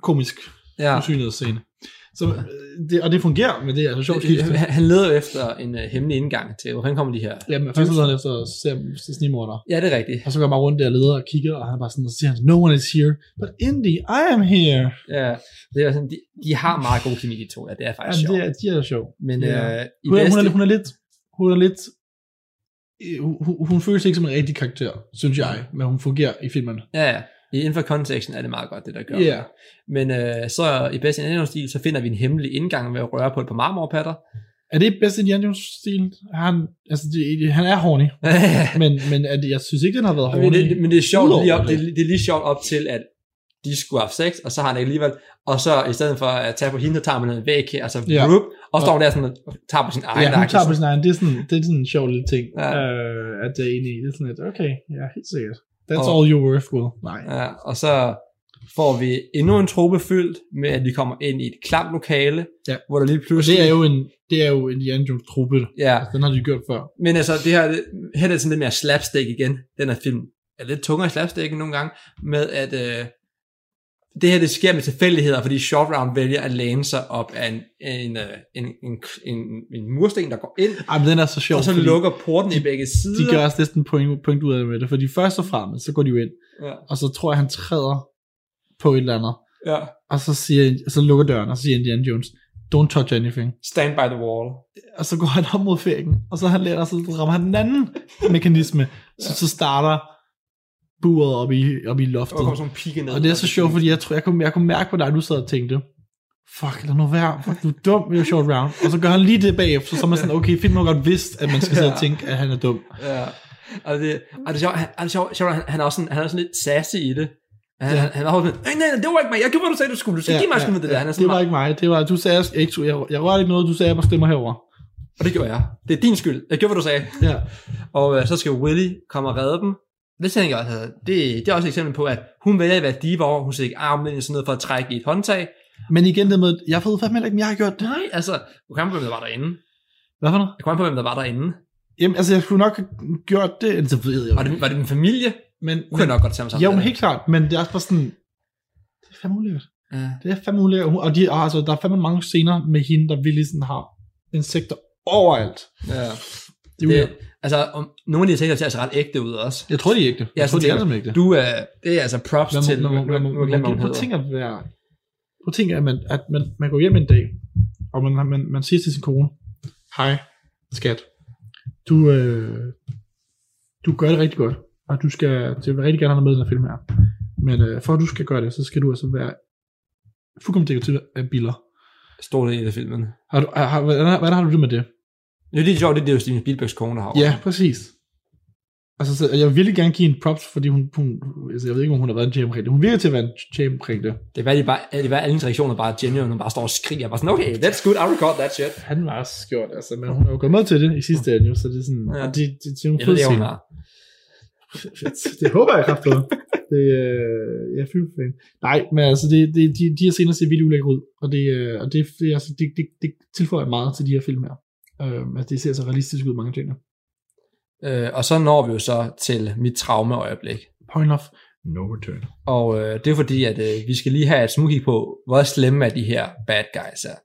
[SPEAKER 2] komisk
[SPEAKER 3] <laughs> ja.
[SPEAKER 2] ja. usynlighedsscene. Så, øh, det, og det fungerer, men det er altså sjovt skift.
[SPEAKER 3] Han- Han leder jo efter en uh, hemmelig indgang til, hvordan kommer de her?
[SPEAKER 2] Jamen, først leder han efter at se, om det snimorder.
[SPEAKER 3] Ja, det er rigtigt.
[SPEAKER 2] Og så går jeg bare rundt der og leder og kigger, og han er bare sådan, og så siger han, no one is here, but Indy, I am here.
[SPEAKER 3] Ja, det er sådan, de, de har meget god kemi, de to. Ja, det er
[SPEAKER 2] Ja,
[SPEAKER 3] faktisk
[SPEAKER 2] det
[SPEAKER 3] sjovt.
[SPEAKER 2] er, de er sjov.
[SPEAKER 3] Men
[SPEAKER 2] Ja.
[SPEAKER 3] øh, i
[SPEAKER 2] Hun, er- hun,
[SPEAKER 3] bedste,
[SPEAKER 2] er, hun er lidt, hun er lidt, øh, hun, hun- hun føles ikke som en rigtig karakter, synes jeg, men hun fungerer i filmen.
[SPEAKER 3] ja, ja. I- inden for konteksten er det meget godt, det der gør.
[SPEAKER 2] Ja, yeah.
[SPEAKER 3] Men øh, så i bedste indendørsstil, så finder vi en hemmelig indgang ved at røre på et par
[SPEAKER 2] <laughs>
[SPEAKER 3] marmorpatter.
[SPEAKER 2] er det bedst Indiana Jones stil? Han, altså, det, han er horny, men, men at, jeg synes ikke, den har været
[SPEAKER 3] men,
[SPEAKER 2] horny.
[SPEAKER 3] det, men det er sjovt,
[SPEAKER 2] Udover
[SPEAKER 3] lige op, det,
[SPEAKER 2] det.
[SPEAKER 3] er- det er lige sjovt op til, at de skulle have sex, og så har han ikke alligevel, og så i stedet for at tage på hende, så tager man en væg her, altså
[SPEAKER 2] Ja.
[SPEAKER 3] ja. rup, og står der sådan, og tager på sin egen
[SPEAKER 2] ja, hun
[SPEAKER 3] akse.
[SPEAKER 2] tager på sin egen, det er sådan, det er sådan en sjov lille ting, ja.
[SPEAKER 3] Ja.
[SPEAKER 2] øh, at det er enig i. Det er sådan lidt, okay, ja, helt sikkert. That's
[SPEAKER 3] Og-
[SPEAKER 2] all you're worth, Will. Nej.
[SPEAKER 3] Ja, og så får vi endnu en trope fyldt med, at de kommer ind i et klamt lokale,
[SPEAKER 2] Ja.
[SPEAKER 3] hvor der lige
[SPEAKER 2] Og det
[SPEAKER 3] pludselig...
[SPEAKER 2] er jo en, det er jo Indiana Jones truppe.
[SPEAKER 3] Ja,
[SPEAKER 2] Altså, den har de gjort før.
[SPEAKER 3] men altså, det her, det- her er det sådan lidt mere slapstick igen. Den her film er lidt tungere i slapstick nogle gange, med at øh, det her det sker med tilfældigheder, fordi short round vælger at læne sig op af en, en, øh, en, en, en, en mursten, der går ind,
[SPEAKER 2] Ej, men den er så sjov.
[SPEAKER 3] og så
[SPEAKER 2] fordi
[SPEAKER 3] lukker porten i begge sider.
[SPEAKER 2] De gør også næsten point, point ud af det med det, fordi først og fremmest, så går de jo ind,
[SPEAKER 3] Ja,
[SPEAKER 2] og så tror jeg, han træder på et eller andet,
[SPEAKER 3] ja.
[SPEAKER 2] og så, siger, og så lukker døren, og så siger Indiana Jones, don't touch anything.
[SPEAKER 3] Stand by the wall.
[SPEAKER 2] Og så går han op mod fækken, og så, han læner, og så rammer han den anden mekanisme, så, så starter buret op i, op i
[SPEAKER 3] Og
[SPEAKER 2] loftet.
[SPEAKER 3] der kommer sådan nogle pigge ned.
[SPEAKER 2] Og det er så sjovt, fordi jeg tror, jeg kunne, jeg kunne mærke på dig, du sad og tænkte, fuck, lad nu være, fuck, du er dum, det er short round. Og så gør han lige det bagefter, så er man sådan, okay, fint nok godt vidst, at man skal sidde og tænke, at han er dum.
[SPEAKER 3] Ja. Og det, og det er sjovt, han, og det er sjovt, sjovt han, han, er også sådan, han er sådan lidt sassy i det. Han,
[SPEAKER 2] Ja.
[SPEAKER 3] ja. han, var også sådan, nej, nej, det var ikke mig, jeg gjorde, hvad du sagde, du skulle, du skal ja, give mig ja, med det der. Han er sådan
[SPEAKER 2] det var
[SPEAKER 3] meget,
[SPEAKER 2] ikke mig, det var, du sagde, jeg, ikke, jeg, jeg rørte ikke noget, du sagde, at man stemmer herover.
[SPEAKER 3] og det gjorde jeg. Det er din skyld, jeg gjorde, hvad du sagde.
[SPEAKER 2] Ja.
[SPEAKER 3] Og øh, så skal Willy komme og redde dem. Det tænker jeg også, det, det er også et eksempel på, at hun vælger at være diva over, hun siger "Ah, ikke armen ind i sådan noget for at trække i et håndtag.
[SPEAKER 2] Men igen det med, jeg ved fandme heller ikke, om jeg har gjort det.
[SPEAKER 3] Nej, altså, du kan på, hvem der var derinde.
[SPEAKER 2] Hvad for noget?
[SPEAKER 3] Jeg kan på, hvem der var derinde.
[SPEAKER 2] Jamen, altså, jeg skulle nok have gjort det, eller så ved jeg
[SPEAKER 3] Var
[SPEAKER 2] jo.
[SPEAKER 3] det, var det min familie?
[SPEAKER 2] Men,
[SPEAKER 3] Du
[SPEAKER 2] men
[SPEAKER 3] kan nok godt tage mig sammen.
[SPEAKER 2] jo,
[SPEAKER 3] med
[SPEAKER 2] men
[SPEAKER 3] det.
[SPEAKER 2] helt klart, men det er også bare sådan, det er fandme ulækkert.
[SPEAKER 3] Ja.
[SPEAKER 2] Det er fandme ulækkert. Hun- Og de, og altså, der er fandme mange scener med hende, der virkelig sådan har insekter overalt.
[SPEAKER 3] ja.
[SPEAKER 2] Det er
[SPEAKER 3] Det,
[SPEAKER 2] ulækkert.
[SPEAKER 3] altså, om, nogle af de ting, der ser altså ret ægte ud også.
[SPEAKER 2] Jeg tror, de er ægte. Jeg,
[SPEAKER 3] Ja,
[SPEAKER 2] jeg tror,
[SPEAKER 3] sådan
[SPEAKER 2] de er
[SPEAKER 3] tænker
[SPEAKER 2] alle sammen ægte.
[SPEAKER 3] Du er, det er altså props
[SPEAKER 2] man,
[SPEAKER 3] til,
[SPEAKER 2] man, man, man, man,
[SPEAKER 3] nu
[SPEAKER 2] man, man,
[SPEAKER 3] glemmer, hun
[SPEAKER 2] man,
[SPEAKER 3] hedder.
[SPEAKER 2] tænk at være... Prøv at tænke, at man, at man, man går hjem en dag, og man, man, man siger til sin kone, hej, skat, du, øh, du gør det rigtig godt, og du skal, jeg vil rigtig gerne have dig med i den her film her. Men øh, for at du skal gøre det, så skal du altså være fuldkommen dækket til af biler.
[SPEAKER 3] Stor del af filmen.
[SPEAKER 2] Har du, har, hvordan, har- hvordan har du det med det?
[SPEAKER 3] Det er lige sjovt, det, det er jo Steven Spielbergs kone, der har
[SPEAKER 2] Ja, præcis. Altså, så, jeg vil virkelig gerne give en props, fordi hun, hun altså, jeg ved ikke, om hun har været en champ det. Hun virker til at være en champ det.
[SPEAKER 3] Det var, de bare, det var alle hendes reaktioner bare genuine, hun bare står og skriger, bare sådan, okay, that's good, I'll record that shit.
[SPEAKER 2] Han var også skjort, altså, men hun har jo gået med til det i sidste ende, jo, så det er sådan,
[SPEAKER 3] Ja.
[SPEAKER 2] ja. det, det, det, er en
[SPEAKER 3] Jeg ved
[SPEAKER 2] fed
[SPEAKER 3] ikke, om hun
[SPEAKER 2] scene.
[SPEAKER 3] har.
[SPEAKER 2] det håber jeg
[SPEAKER 3] <laughs>
[SPEAKER 2] kraftigt. Det, øh, jeg er fyldt fan. Nej, men altså, det, det, de, de her scener ser vildt ulækre ud, og det, øh, og det, det, altså, det, det, det tilføjer meget til de her film her. Øh, altså, det ser så realistisk ud, mange ting.
[SPEAKER 3] Øh, og så når vi jo så til mit traumeøjeblik.
[SPEAKER 2] Point of no return.
[SPEAKER 3] Og øh, det er fordi, at øh, vi skal lige have et smugkig på, hvor slemme er de her bad guys er.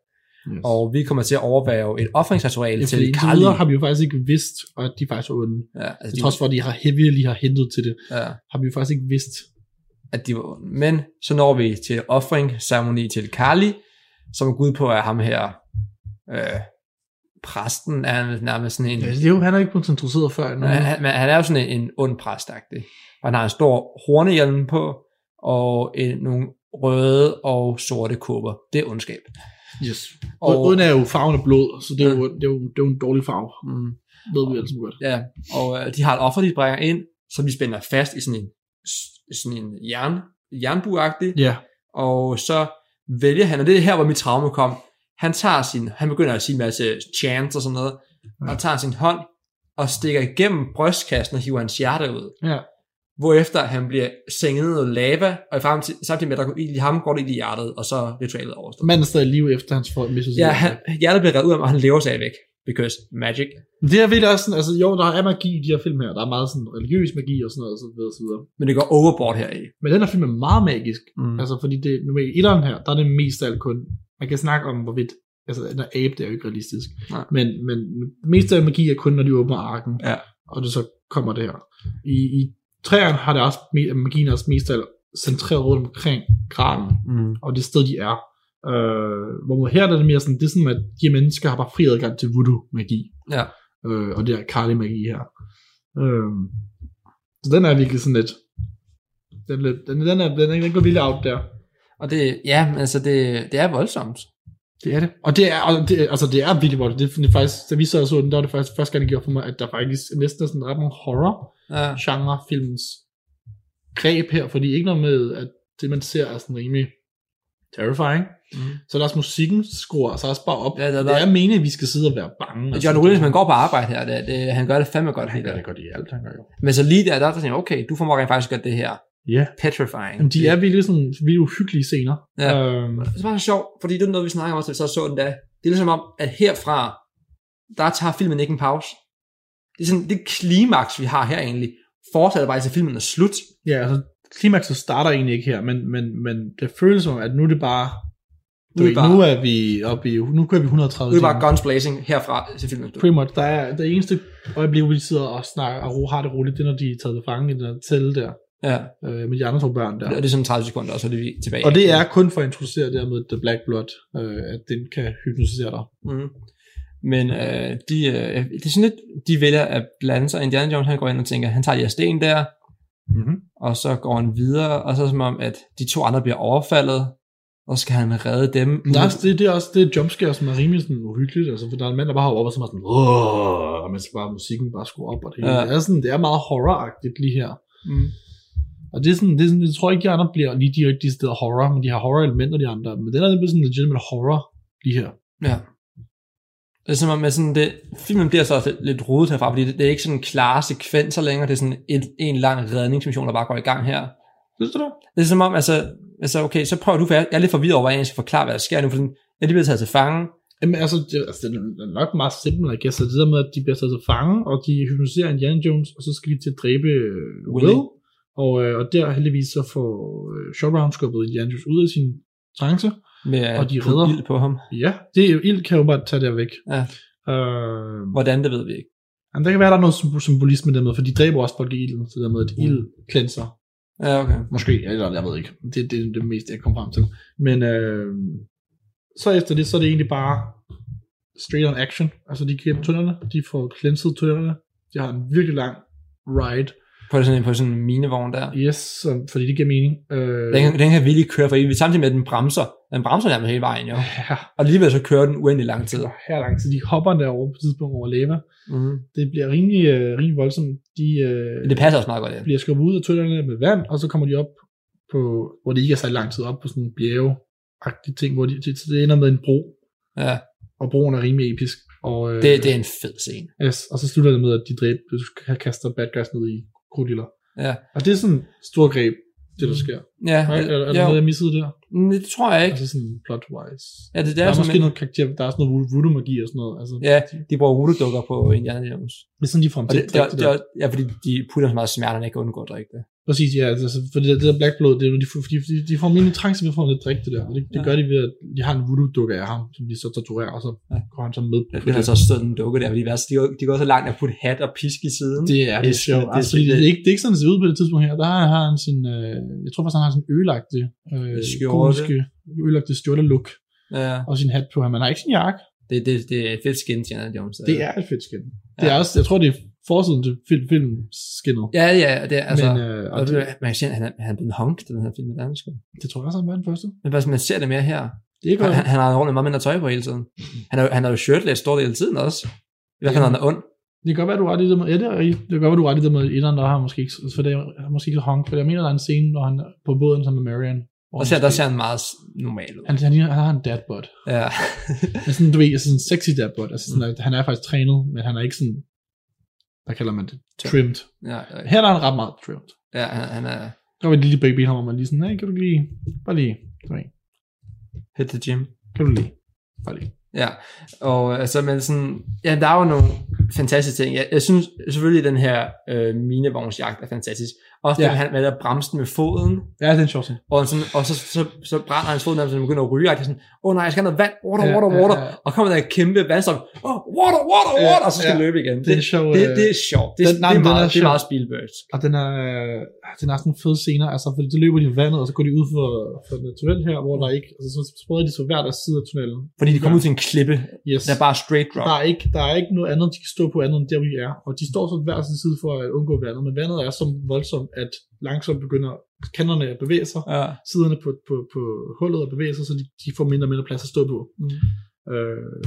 [SPEAKER 2] Yes.
[SPEAKER 3] Og vi kommer til at overvære et offringsritual
[SPEAKER 2] Ja, fordi
[SPEAKER 3] til
[SPEAKER 2] indtil
[SPEAKER 3] Kali.
[SPEAKER 2] videre har vi jo faktisk ikke vidst, at de faktisk var onde.
[SPEAKER 3] Ja, altså,
[SPEAKER 2] Til
[SPEAKER 3] de,
[SPEAKER 2] trods for, at de har heavily har hentet til det,
[SPEAKER 3] ja,
[SPEAKER 2] har vi jo faktisk ikke vidst.
[SPEAKER 3] at de var onde. Men så når vi til offringsceremoni til Kali, som er gud på er ham her, øh, præsten, er han nærmest sådan en...
[SPEAKER 2] Ja, det er jo, han er ikke blevet centreret før endnu.
[SPEAKER 3] Men han, han, men han er jo sådan en, en ond præstagtig. Og han har en stor hornehjelm på, og en, nogle røde og sorte kurver. Det er ondskab.
[SPEAKER 2] Yes. Og,
[SPEAKER 3] Og,
[SPEAKER 2] Uden er jo farven af blod, så det er,
[SPEAKER 3] Ja.
[SPEAKER 2] jo, det, er jo, det er jo en dårlig farve.
[SPEAKER 3] mm,
[SPEAKER 2] Ved vi alle sammen godt.
[SPEAKER 3] ja, og øh, de har et offer, de bringer ind, som de spænder fast i sådan en, s- sådan en jern, jernbuagtig. Yeah.
[SPEAKER 2] Ja.
[SPEAKER 3] Og så vælger han, og det er her, hvor mit traume kom, han tager sin, han begynder at sige en masse chants og sådan noget,
[SPEAKER 2] Ja.
[SPEAKER 3] og tager sin hånd og stikker igennem brystkassen og hiver hans hjerte ud.
[SPEAKER 2] ja.
[SPEAKER 3] hvorefter han bliver sænket ned i lava, og i fremtid, samtidig med, at der går ild i ham, går det ild i hjertet, og så er ritualet overstået.
[SPEAKER 2] Manden er stadig i live efter hans folk mistet sit
[SPEAKER 3] ja,
[SPEAKER 2] hjerte.
[SPEAKER 3] han, hjertet bliver reddet ud af ham, og han lever sig væk, because magic.
[SPEAKER 2] Men Det er virkelig også sådan, altså jo, der er magi i de her film her. Der er meget sådan religiøs magi og sådan noget, og så videre, og så videre.
[SPEAKER 3] Men det går overboard her i.
[SPEAKER 2] Men den her film er meget magisk.
[SPEAKER 3] Mm.
[SPEAKER 2] Altså, fordi det, nu i etteren her, der er det mest af alt kun, man kan snakke om, hvorvidt, altså, den der abe, det er jo ikke realistisk.
[SPEAKER 3] Nej.
[SPEAKER 2] Men, men det meste af magi er kun, når de åbner arken,
[SPEAKER 3] Ja.
[SPEAKER 2] og det så kommer det her. I, i træerne har det også, me- magien er også mest af alt centreret rundt omkring graven,
[SPEAKER 3] Mm.
[SPEAKER 2] og det sted, de er. Øh, hvor her der er det mere sådan, det er sådan, at de her mennesker har bare fri adgang til voodoo-magi,
[SPEAKER 3] Ja.
[SPEAKER 2] øh, og det her Kali-magi her. Øh, så den er virkelig sådan lidt, den, er lidt, den, den, er, den, den går vildt out der.
[SPEAKER 3] Og det, ja, men altså det, det er voldsomt.
[SPEAKER 2] Det er det. Og det er, og det, er- altså det er virkelig voldt. Det, det er faktisk, da vi sad og så den, der var det faktisk første gang, det gjorde for mig, at der faktisk næsten er sådan ret mange horror
[SPEAKER 3] Ja.
[SPEAKER 2] genre filmens greb her, fordi ikke noget med, at det man ser er sådan rimelig terrifying.
[SPEAKER 3] Mm.
[SPEAKER 2] Så er der også musikken skruer altså også bare op.
[SPEAKER 3] Ja, der-
[SPEAKER 2] det
[SPEAKER 3] der-
[SPEAKER 2] er meningen, at vi skal sidde og være bange. altså,
[SPEAKER 3] Og John Williams, man går på arbejde her, det, det, han gør det fandme godt.
[SPEAKER 2] Han
[SPEAKER 3] Det
[SPEAKER 2] gør
[SPEAKER 3] der.
[SPEAKER 2] det godt i alt, han gør jo.
[SPEAKER 3] Men så lige der, der er der sådan, okay, du formår rent faktisk at gøre det her
[SPEAKER 2] Ja.
[SPEAKER 3] petrifying.
[SPEAKER 2] Jamen, de er virkelig sådan virkelig uhyggelige scener.
[SPEAKER 3] Ja.
[SPEAKER 2] Øhm,
[SPEAKER 3] Det er bare så sjovt, fordi det er noget, vi snakker om også, da vi så så den der. Det er ligesom om, at herfra, der tager filmen ikke en pause. Det er sådan det klimaks, vi har her egentlig, fortsætter bare til filmen er slut.
[SPEAKER 2] ja, altså klimakset starter egentlig ikke her, men, men, men det føles som, at nu er det bare,
[SPEAKER 3] Nu
[SPEAKER 2] nu er,
[SPEAKER 3] er det
[SPEAKER 2] ved,
[SPEAKER 3] bare-
[SPEAKER 2] nu er vi oppe i, nu kører vi 130
[SPEAKER 3] Det er bare
[SPEAKER 2] timer.
[SPEAKER 3] guns blazing herfra til filmen.
[SPEAKER 2] Pretty much, der er det eneste øjeblik, hvor de sidder og snakker og ro- har det roligt, det er, når de er taget til fange i den der tælle der,
[SPEAKER 3] Ja.
[SPEAKER 2] øh, med de andre to børn der.
[SPEAKER 3] Og det er sådan 30 sekunder, og så er det vi tilbage.
[SPEAKER 2] Og det er kun for at introducere det her med The Black Blood, øh, at den kan hypnotisere dig.
[SPEAKER 3] Mm. Men øh, de, øh, det er sådan lidt, de vælger at blande sig. Indiana Jones, han går ind og tænker, han tager de her sten der,
[SPEAKER 2] Mm-hmm.
[SPEAKER 3] og så går han videre, og så er det som om, at de to andre bliver overfaldet, og så skal han redde dem.
[SPEAKER 2] Der er, også- det, det er også det jumpscare, som er rimelig sådan uhyggeligt, altså, for der er en mand, der bare hopper op, og så er man sådan, Åh! og man skal bare musikken bare skrue op, og det, hele.
[SPEAKER 3] Ja.
[SPEAKER 2] Ja. det, er sådan, det er meget horroragtigt lige her.
[SPEAKER 3] Mm.
[SPEAKER 2] Og det er sådan, det er sådan, jeg tror ikke, de andre bliver lige direkte de steder horror, men de har horror-elementer, de andre, men den er lidt sådan legitimate horror lige her.
[SPEAKER 3] Ja. Det er som om, at sådan det, filmen bliver så også lidt rodet herfra, fordi det, det er ikke sådan klare sekvenser længere, det er sådan en, en lang redningsmission, der bare går i gang her.
[SPEAKER 2] Synes du det?
[SPEAKER 3] Det er som om, altså, altså okay, så prøver du, for jeg jeg er lidt forvirret over, hvordan jeg skal forklare, hvad der sker nu, for sådan, ja, de bliver taget til fange,
[SPEAKER 2] Jamen, altså, det, altså, det er nok meget simpelt, jeg gætter det der med, at de bliver taget til fange, og de hypnotiserer Indiana Jones, og så skal de til at dræbe øh,
[SPEAKER 3] Willy.
[SPEAKER 2] Will. Og, øh, og der heldigvis så får øh, Showdown skubbet Indiana Jones ud af sin trance.
[SPEAKER 3] med
[SPEAKER 2] Og de
[SPEAKER 3] på
[SPEAKER 2] redder.
[SPEAKER 3] ild på ham.
[SPEAKER 2] Ja, det er jo ild, kan jo bare tage det væk.
[SPEAKER 3] Ja.
[SPEAKER 2] Øh,
[SPEAKER 3] Hvordan, det ved vi ikke.
[SPEAKER 2] jamen, der kan være, der er noget symbo- symbolisme der med, for de dræber også folk i ilden, så der med, at
[SPEAKER 3] Mm.
[SPEAKER 2] ild klænser
[SPEAKER 3] Ja, okay.
[SPEAKER 2] Måske, eller jeg ved ikke. Det, det er det meste, jeg kom frem til. Men øh, så efter det, så er det egentlig bare straight on action. Altså, de giver tønderne, de får cleanset tønderne. De har en virkelig lang ride.
[SPEAKER 3] På sådan en, på sådan en minevogn der.
[SPEAKER 2] Yes, så, fordi det giver mening. Øh,
[SPEAKER 3] Den, kan- den kan virkelig køre for evigt, samtidig med, at den bremser. Den bremser nærmest hele vejen, jo.
[SPEAKER 2] ja,
[SPEAKER 3] Og alligevel så kører den uendelig lang tid.
[SPEAKER 2] det var her lang tid. De hopper derovre på et tidspunkt over lava.
[SPEAKER 3] Mm.
[SPEAKER 2] Det bliver rimelig, øh, rimelig voldsomt. De øh,
[SPEAKER 3] Det passer også meget godt, ja.
[SPEAKER 2] bliver skubbet ud af tønderne med vand, og så kommer de op på, hvor det ikke er så lang tid op på sådan en bjerge ting, hvor de, det, det ender med en bro,
[SPEAKER 3] ja.
[SPEAKER 2] og broen er rimelig episk. Og, øh,
[SPEAKER 3] Det, det er en fed scene.
[SPEAKER 2] Yes, og så slutter det med, at de dræber, du skal- kaster bad guys ned i krudiller.
[SPEAKER 3] Ja.
[SPEAKER 2] Og det er sådan et stort greb, det der sker.
[SPEAKER 3] Ja,
[SPEAKER 2] Er, er, er der
[SPEAKER 3] Mm. ja,
[SPEAKER 2] noget, jeg missede der?
[SPEAKER 3] det tror jeg ikke.
[SPEAKER 2] Altså sådan plot-wise.
[SPEAKER 3] Ja, det, det
[SPEAKER 2] Der
[SPEAKER 3] er,
[SPEAKER 2] er,
[SPEAKER 3] som
[SPEAKER 2] måske
[SPEAKER 3] en,
[SPEAKER 2] noget karakter, der er sådan noget voodoo-magi og sådan noget. Altså,
[SPEAKER 3] Ja, de bruger rutedukker på Indiana Jones.
[SPEAKER 2] Det er sådan, de får ham
[SPEAKER 3] Og
[SPEAKER 2] til
[SPEAKER 3] det,
[SPEAKER 2] at
[SPEAKER 3] det,
[SPEAKER 2] drikke
[SPEAKER 3] det,
[SPEAKER 2] det,
[SPEAKER 3] det,
[SPEAKER 2] der.
[SPEAKER 3] er- ja, fordi de putter så meget smerte, at han ikke kan undgå at drikke det.
[SPEAKER 2] Præcis, ja. Altså, for det der, det der Black Blood, det er, jo, de, får, de, de- de får min trance ved at få ham til at drikke det der. Og det, det
[SPEAKER 3] Ja.
[SPEAKER 2] gør de ved, at de har en voodoo-dukke af ham, som de så torturerer, og så
[SPEAKER 3] Ja.
[SPEAKER 2] går han så med på
[SPEAKER 3] Det,
[SPEAKER 2] det.
[SPEAKER 3] det er altså også sådan en dukke der, fordi de, de, går- de går så langt at putte hat og pisk i siden.
[SPEAKER 2] Det er, det
[SPEAKER 3] Mm. Det
[SPEAKER 2] er
[SPEAKER 3] er
[SPEAKER 2] sjovt.
[SPEAKER 3] sådan-
[SPEAKER 2] Altså,
[SPEAKER 3] det
[SPEAKER 2] det,
[SPEAKER 3] er sådan-
[SPEAKER 2] det, er ikke, det er ikke sådan, det ser ud på det tidspunkt her. Der har, har han sin, øh, jeg tror faktisk, han har sin ølagte, øh,
[SPEAKER 3] Skjorte.
[SPEAKER 2] komiske, ølagte stjorteluk
[SPEAKER 3] Ja,
[SPEAKER 2] og sin hat på ham. Han har ikke sin jakke.
[SPEAKER 3] det, det, det er et fedt skin til Indiana Jones. altså.
[SPEAKER 2] Det er et fedt skin. Det
[SPEAKER 3] Ja.
[SPEAKER 2] er også, jeg tror, det er forsiden til film, film skinnet.
[SPEAKER 3] Ja, ja, det er altså...
[SPEAKER 2] Men, øh, og
[SPEAKER 3] Og
[SPEAKER 2] det,
[SPEAKER 3] det, man kan sige, at han er, han er blevet honk, den her film med dansk.
[SPEAKER 2] det, tror jeg også, han var den første.
[SPEAKER 3] Men bare, sådan, man ser det mere her.
[SPEAKER 2] Det er
[SPEAKER 3] Han,
[SPEAKER 2] godt.
[SPEAKER 3] <laughs> han, han har ordentligt meget mindre tøj på hele tiden. Han er, jo- han er jo shirtless stor del af tiden også. I hvert fald, når han er ond.
[SPEAKER 2] Det kan godt være, du har ret i det med, ja, det er rigtigt. Det kan godt være, du har ret i det med etteren, der har måske ikke, for det er måske ikke så honk, for jeg mener, der er en scene, når han er på båden sammen med Marion. hvor
[SPEAKER 3] Og
[SPEAKER 2] han
[SPEAKER 3] ser, der
[SPEAKER 2] måske-
[SPEAKER 3] ser han meget s- normal ud.
[SPEAKER 2] han, han, han, har en dadbot.
[SPEAKER 3] Ja. <laughs>
[SPEAKER 2] Men sådan, du ved, altså sådan en sexy dadbot. Altså sådan, at han er faktisk trænet, men han er ikke sådan, hvad kalder man det?
[SPEAKER 3] Trim.
[SPEAKER 2] Trimmed.
[SPEAKER 3] ja, ja,
[SPEAKER 2] Her er han ret meget trimmed.
[SPEAKER 3] ja han, han er
[SPEAKER 2] Der var et lille baby, ham, hvor man lige sådan, hey, kan du lige, bare lige, du ved,
[SPEAKER 3] hit the gym.
[SPEAKER 2] kan du lige, bare lige.
[SPEAKER 3] Ja, og altså, men sådan, ja, der er jo nogle fantastiske ting. Jeg, jeg synes selvfølgelig, den her øh, minevognsjagt er fantastisk. Også ja.
[SPEAKER 2] Ja.
[SPEAKER 3] den, han med at bremse den med foden,
[SPEAKER 2] Ja, det er en sjov scene.
[SPEAKER 3] og, sådan, og så, så, så brænder hans fod, når han begynder at ryge, og det er sådan, åh oh, nej, jeg skal have noget vand, water,
[SPEAKER 2] Ja,
[SPEAKER 3] water,
[SPEAKER 2] ja,
[SPEAKER 3] water,
[SPEAKER 2] ja.
[SPEAKER 3] og kommer der en kæmpe vandstop, åh, oh, water, water,
[SPEAKER 2] Ja,
[SPEAKER 3] water, og så skal
[SPEAKER 2] ja.
[SPEAKER 3] han løbe igen.
[SPEAKER 2] Det er en sjov,
[SPEAKER 3] det,
[SPEAKER 2] øh,
[SPEAKER 3] det er sjovt. Det,
[SPEAKER 2] den- nej, men
[SPEAKER 3] det, er
[SPEAKER 2] den
[SPEAKER 3] meget,
[SPEAKER 2] er
[SPEAKER 3] det er
[SPEAKER 2] sjov.
[SPEAKER 3] meget Spielberg.
[SPEAKER 2] Og den er, øh, den er sådan nogle fede scener, altså, fordi det løber de i vandet, og så går de ud for, for den tunnel her, hvor der ikke, altså, så spreder de så hver deres side af tunnelen.
[SPEAKER 3] Fordi de kommer ud til en klippe,
[SPEAKER 2] Yes.
[SPEAKER 3] der er bare straight drop.
[SPEAKER 2] Der er, ikke, der er ikke noget andet, de kan stå på andet end der, vi er. Og de står så hver sin side for at undgå vandet, men vandet er så voldsomt, at langsomt begynder kanterne at bevæge sig,
[SPEAKER 3] Ja.
[SPEAKER 2] siderne på, på, på hullet og bevæger sig, så de, de får mindre og mindre plads at stå på.
[SPEAKER 3] Mm.
[SPEAKER 2] Øh,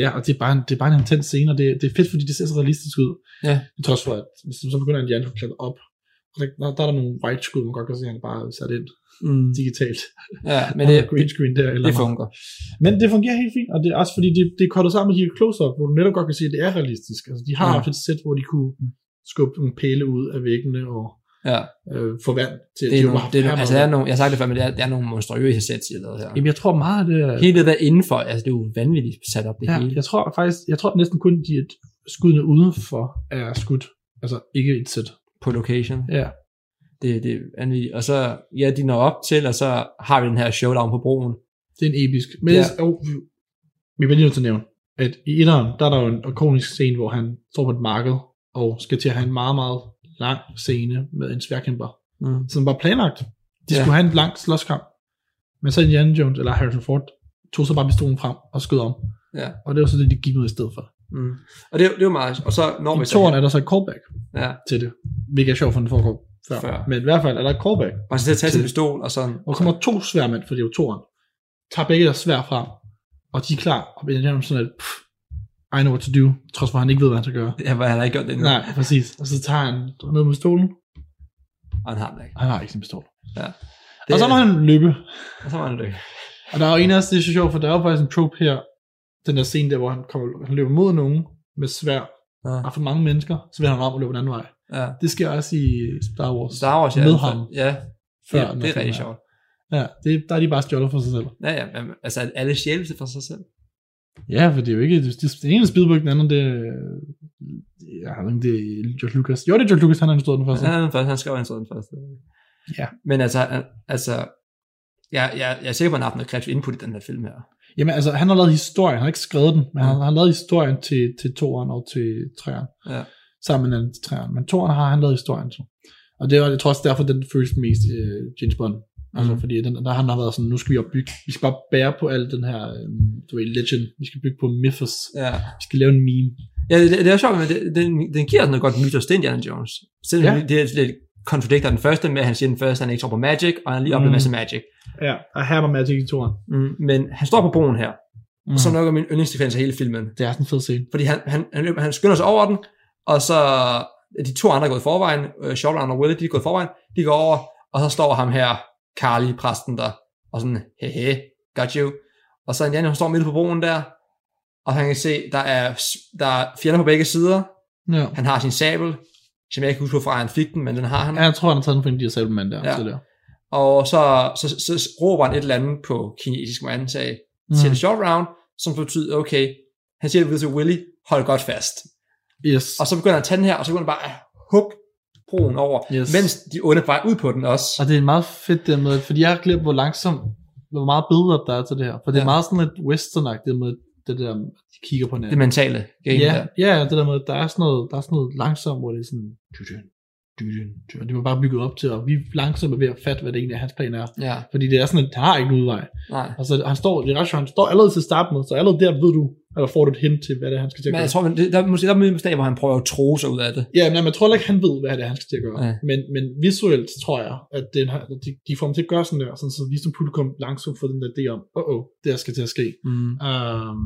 [SPEAKER 2] ja, og det er bare en, det er bare en intens scene, og det, det er fedt, fordi det ser så realistisk ud.
[SPEAKER 3] Ja.
[SPEAKER 2] Det trods for, at hvis så begynder en hjerne at klatre op, og der, der, der, er der nogle white skud, man godt kan se, at han bare er sat ind
[SPEAKER 3] Mm.
[SPEAKER 2] digitalt.
[SPEAKER 3] Ja, men
[SPEAKER 2] Og
[SPEAKER 3] det,
[SPEAKER 2] der er <laughs> green screen der, eller
[SPEAKER 3] det
[SPEAKER 2] noget.
[SPEAKER 3] fungerer.
[SPEAKER 2] Men det fungerer helt fint, og det er også fordi, det, det er kottet sammen med de her close-up, hvor du netop godt kan se, at det er realistisk. Altså, de har
[SPEAKER 3] Ja. Mm.
[SPEAKER 2] haft et sæt, hvor de kunne skubbe en pæle ud af væggene og
[SPEAKER 3] Ja.
[SPEAKER 2] øh, få vand til
[SPEAKER 3] Det er
[SPEAKER 2] de
[SPEAKER 3] nogle,
[SPEAKER 2] var
[SPEAKER 3] det er nogle,
[SPEAKER 2] hammer-
[SPEAKER 3] altså, der er nogle, jeg har sagt det før, men det er, der er nogle monstrøse sæt, jeg lavede her.
[SPEAKER 2] Jamen, jeg tror meget, af det er,
[SPEAKER 3] Hele det der indenfor, altså det er jo vanvittigt sat op det
[SPEAKER 2] Ja,
[SPEAKER 3] hele.
[SPEAKER 2] jeg tror faktisk, jeg tror næsten kun, de at skuddene udenfor er skudt. Altså ikke et sæt.
[SPEAKER 3] På location.
[SPEAKER 2] Ja.
[SPEAKER 3] Det, det er vanvittigt. Og så, ja, de når op til, og så har vi den her showdown på broen.
[SPEAKER 2] Det er en episk. Men
[SPEAKER 3] Ja.
[SPEAKER 2] ja. oh, vi bliver lige nødt til at nævne, at i etteren, der er der jo en ikonisk scene, hvor han står på et marked, og skal til at have en meget, meget lang scene med en sværkæmper,
[SPEAKER 3] Mm.
[SPEAKER 2] som var planlagt. De
[SPEAKER 3] Ja.
[SPEAKER 2] ja. skulle have en lang slåskamp. Men så Indiana Jones, eller Harrison Ford, tog så bare pistolen frem og skød om.
[SPEAKER 3] Ja.
[SPEAKER 2] Og det var så det, de gik med i stedet for.
[SPEAKER 3] Mm. Og det, det var meget, og så når vi
[SPEAKER 2] I toren
[SPEAKER 3] så,
[SPEAKER 2] er der så et callback
[SPEAKER 3] ja,
[SPEAKER 2] til det, hvilket er sjovt for den foregår før.
[SPEAKER 3] Før.
[SPEAKER 2] før. Men i hvert fald er der et callback,
[SPEAKER 3] bare så til at tage sin
[SPEAKER 2] Til-
[SPEAKER 3] pistol, og sådan,
[SPEAKER 2] Og der kommer to sværmænd fra toren, tager begge deres svær frem, og de er klar, og Benjamin Adams sådan lidt, "Pff, I know what to do, trods for at han ikke ved, hvad han skal gøre.
[SPEAKER 3] jeg har heller ikke gjort det endnu,
[SPEAKER 2] Nej, præcis. Og så tager han ned med pistolen,
[SPEAKER 3] og han har den ikke.
[SPEAKER 2] og han har ikke sin pistol.
[SPEAKER 3] Det,
[SPEAKER 2] Og så må han løbe.
[SPEAKER 3] og så var han lykke.
[SPEAKER 2] Og der er jo en af os, det er så sjovt, for der er jo faktisk en trope her, den der scene der, hvor han, kommer, han løber mod nogen med svær,
[SPEAKER 3] Ja.
[SPEAKER 2] og for mange mennesker, så vender han om og løber den anden vej.
[SPEAKER 3] Ja.
[SPEAKER 2] Det sker også i Star Wars.
[SPEAKER 3] Star Wars, ja.
[SPEAKER 2] Med ham.
[SPEAKER 3] Ja, det,
[SPEAKER 2] Før
[SPEAKER 3] det er
[SPEAKER 2] den
[SPEAKER 3] rigtig
[SPEAKER 2] film
[SPEAKER 3] sjovt.
[SPEAKER 2] Ja, det, der er de bare stjålet for sig selv.
[SPEAKER 3] Ja, ja, men, altså at alle sjæle for sig selv.
[SPEAKER 2] Ja, for det er jo ikke... Det, det, den ene er Spielberg, den anden det... er- Jeg ved ikke, det er George Lucas. Jo, det er George Lucas, han har instrueret den første.
[SPEAKER 3] Han, er den første, han skrev instrueret den første.
[SPEAKER 2] Ja.
[SPEAKER 3] Men altså, han- altså jeg, jeg, jeg er sikker på, at han har haft noget kreativt input i den her film her.
[SPEAKER 2] Jamen, altså, han har lavet historien. Han har ikke skrevet den, men han, han har lavet historien til, til toeren og til træeren.
[SPEAKER 3] Ja.
[SPEAKER 2] Sammen med den anden til træeren. Men toeren har han lavet historien til. Og det er jeg tror også derfor, den føles mest øh, James Bond. Altså,
[SPEAKER 3] Mhm.
[SPEAKER 2] fordi den, der han har været sådan, nu skal vi opbygge, vi skal bare bære på al den her, øh, du ved, legend. Vi skal bygge på mythos.
[SPEAKER 3] Ja,
[SPEAKER 2] Vi skal lave en meme.
[SPEAKER 3] ja det, det, er sjovt, men det, den, den giver sådan noget godt mytos til Indiana Jones. Selvom ja.
[SPEAKER 2] Ja.
[SPEAKER 3] det er lidt kontradikter den første med, at han siger den første, han ikke tror på magic, og han lige oplever
[SPEAKER 2] Mm.
[SPEAKER 3] en masse magic.
[SPEAKER 2] Ja, og her var Magic i toeren.
[SPEAKER 3] Mm, men han står på broen her,
[SPEAKER 2] Mm.
[SPEAKER 3] mm. som nok er min yndlingssekvens af hele filmen.
[SPEAKER 2] Det er sådan en fed scene.
[SPEAKER 3] Fordi han, han, han, løber- han skynder sig over den, og så er de to andre gået i forvejen, øh, Shortland og Willie, de er gået i forvejen, de går over, og så står ham her, Carly, præsten der, og sådan, hehe, got you. Og så Indiana, han står midt på broen der, og han kan se, der er, s- der er fjender på begge sider,
[SPEAKER 2] Ja.
[SPEAKER 3] han har sin sabel, som jeg ikke husker, hvorfra han fik den, men den har han.
[SPEAKER 2] Ja, jeg tror, han har taget den fra en af de her sabelmænd der.
[SPEAKER 3] Ja.
[SPEAKER 2] Ja. der.
[SPEAKER 3] Og så, så, så, så råber han et eller andet på kinesisk, må jeg antage,
[SPEAKER 2] Mm.
[SPEAKER 3] til mm. short round, som betyder, okay, han siger det videre til Willie, hold godt fast.
[SPEAKER 2] Mm. Yes.
[SPEAKER 3] Og så begynder han at tage den her, og så begynder han bare at hugge broen over, yes.
[SPEAKER 2] Yes.
[SPEAKER 3] mens de onde på vej ud på den også.
[SPEAKER 2] Og det er meget fedt det med, fordi jeg har glemt, hvor langsom, hvor meget billeder der er til det her. For det er
[SPEAKER 3] Ja.
[SPEAKER 2] meget sådan lidt western det med det der, de kigger på
[SPEAKER 3] Det
[SPEAKER 2] hinanden.
[SPEAKER 3] mentale game
[SPEAKER 2] Ja,
[SPEAKER 3] der.
[SPEAKER 2] ja, det der med, der er sådan noget, der er sådan noget langsomt, hvor det er sådan, dydyn, dydyn, dydyn. og det var bare bygget op til, og vi er langsomt ved at fatte, hvad det egentlig er, hans plan er.
[SPEAKER 3] Ja,
[SPEAKER 2] Fordi det er sådan, at han har ikke en udvej.
[SPEAKER 3] nej.
[SPEAKER 2] Altså, han står, det er ret sjovt, han står allerede til start med, så allerede der ved du, eller får du et hint til, hvad det er, han skal til at
[SPEAKER 3] Men
[SPEAKER 2] gøre.
[SPEAKER 3] jeg tror, men det, der, er måske, der er måske en dag, hvor han prøver at tro sig ud af det.
[SPEAKER 2] Ja, men jamen, jeg tror heller ikke, han ved, hvad det er, han skal til at gøre.
[SPEAKER 3] Ja.
[SPEAKER 2] Ja. Men, men visuelt tror jeg, at den her, de, de får ham til at gøre sådan der, sådan, så vi som publikum langsomt får den der idé om, åh, oh, oh, det her skal til at ske.
[SPEAKER 3] Mm.
[SPEAKER 2] Um,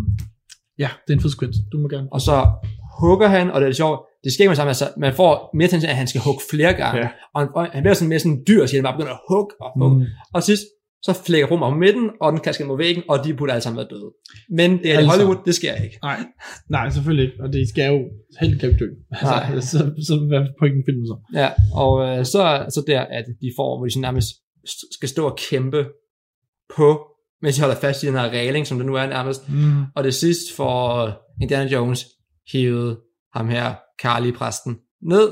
[SPEAKER 2] ja, det er en fed sekvens. Du må gerne.
[SPEAKER 3] Og så hugger han, og det er lidt sjovt, det sker med sammen, altså man får mere til, at han skal hugge flere gange.
[SPEAKER 2] Ja.
[SPEAKER 3] Og, han, og han bliver sådan mere sådan en dyr, så han bare begynder at hugge og hugge. Mm. Og sidst, så flækker rummet om midten, og den kasker mod væggen, og de burde alle sammen være døde. Men det er i
[SPEAKER 2] Alle
[SPEAKER 3] Hollywood, det sker ikke.
[SPEAKER 2] Nej, nej, selvfølgelig ikke. Og det skal jo helt kan jo ikke dø. Altså,
[SPEAKER 3] Nej.
[SPEAKER 2] så, så hvad er pointen i filmen så?
[SPEAKER 3] Ja, og øh, så, så der, at de får, hvor de sådan nærmest s- skal stå og kæmpe på, mens de holder fast i den her regling, som det nu er nærmest.
[SPEAKER 2] Mm.
[SPEAKER 3] Og det sidste får Indiana Jones hævet ham her, Carly præsten, ned.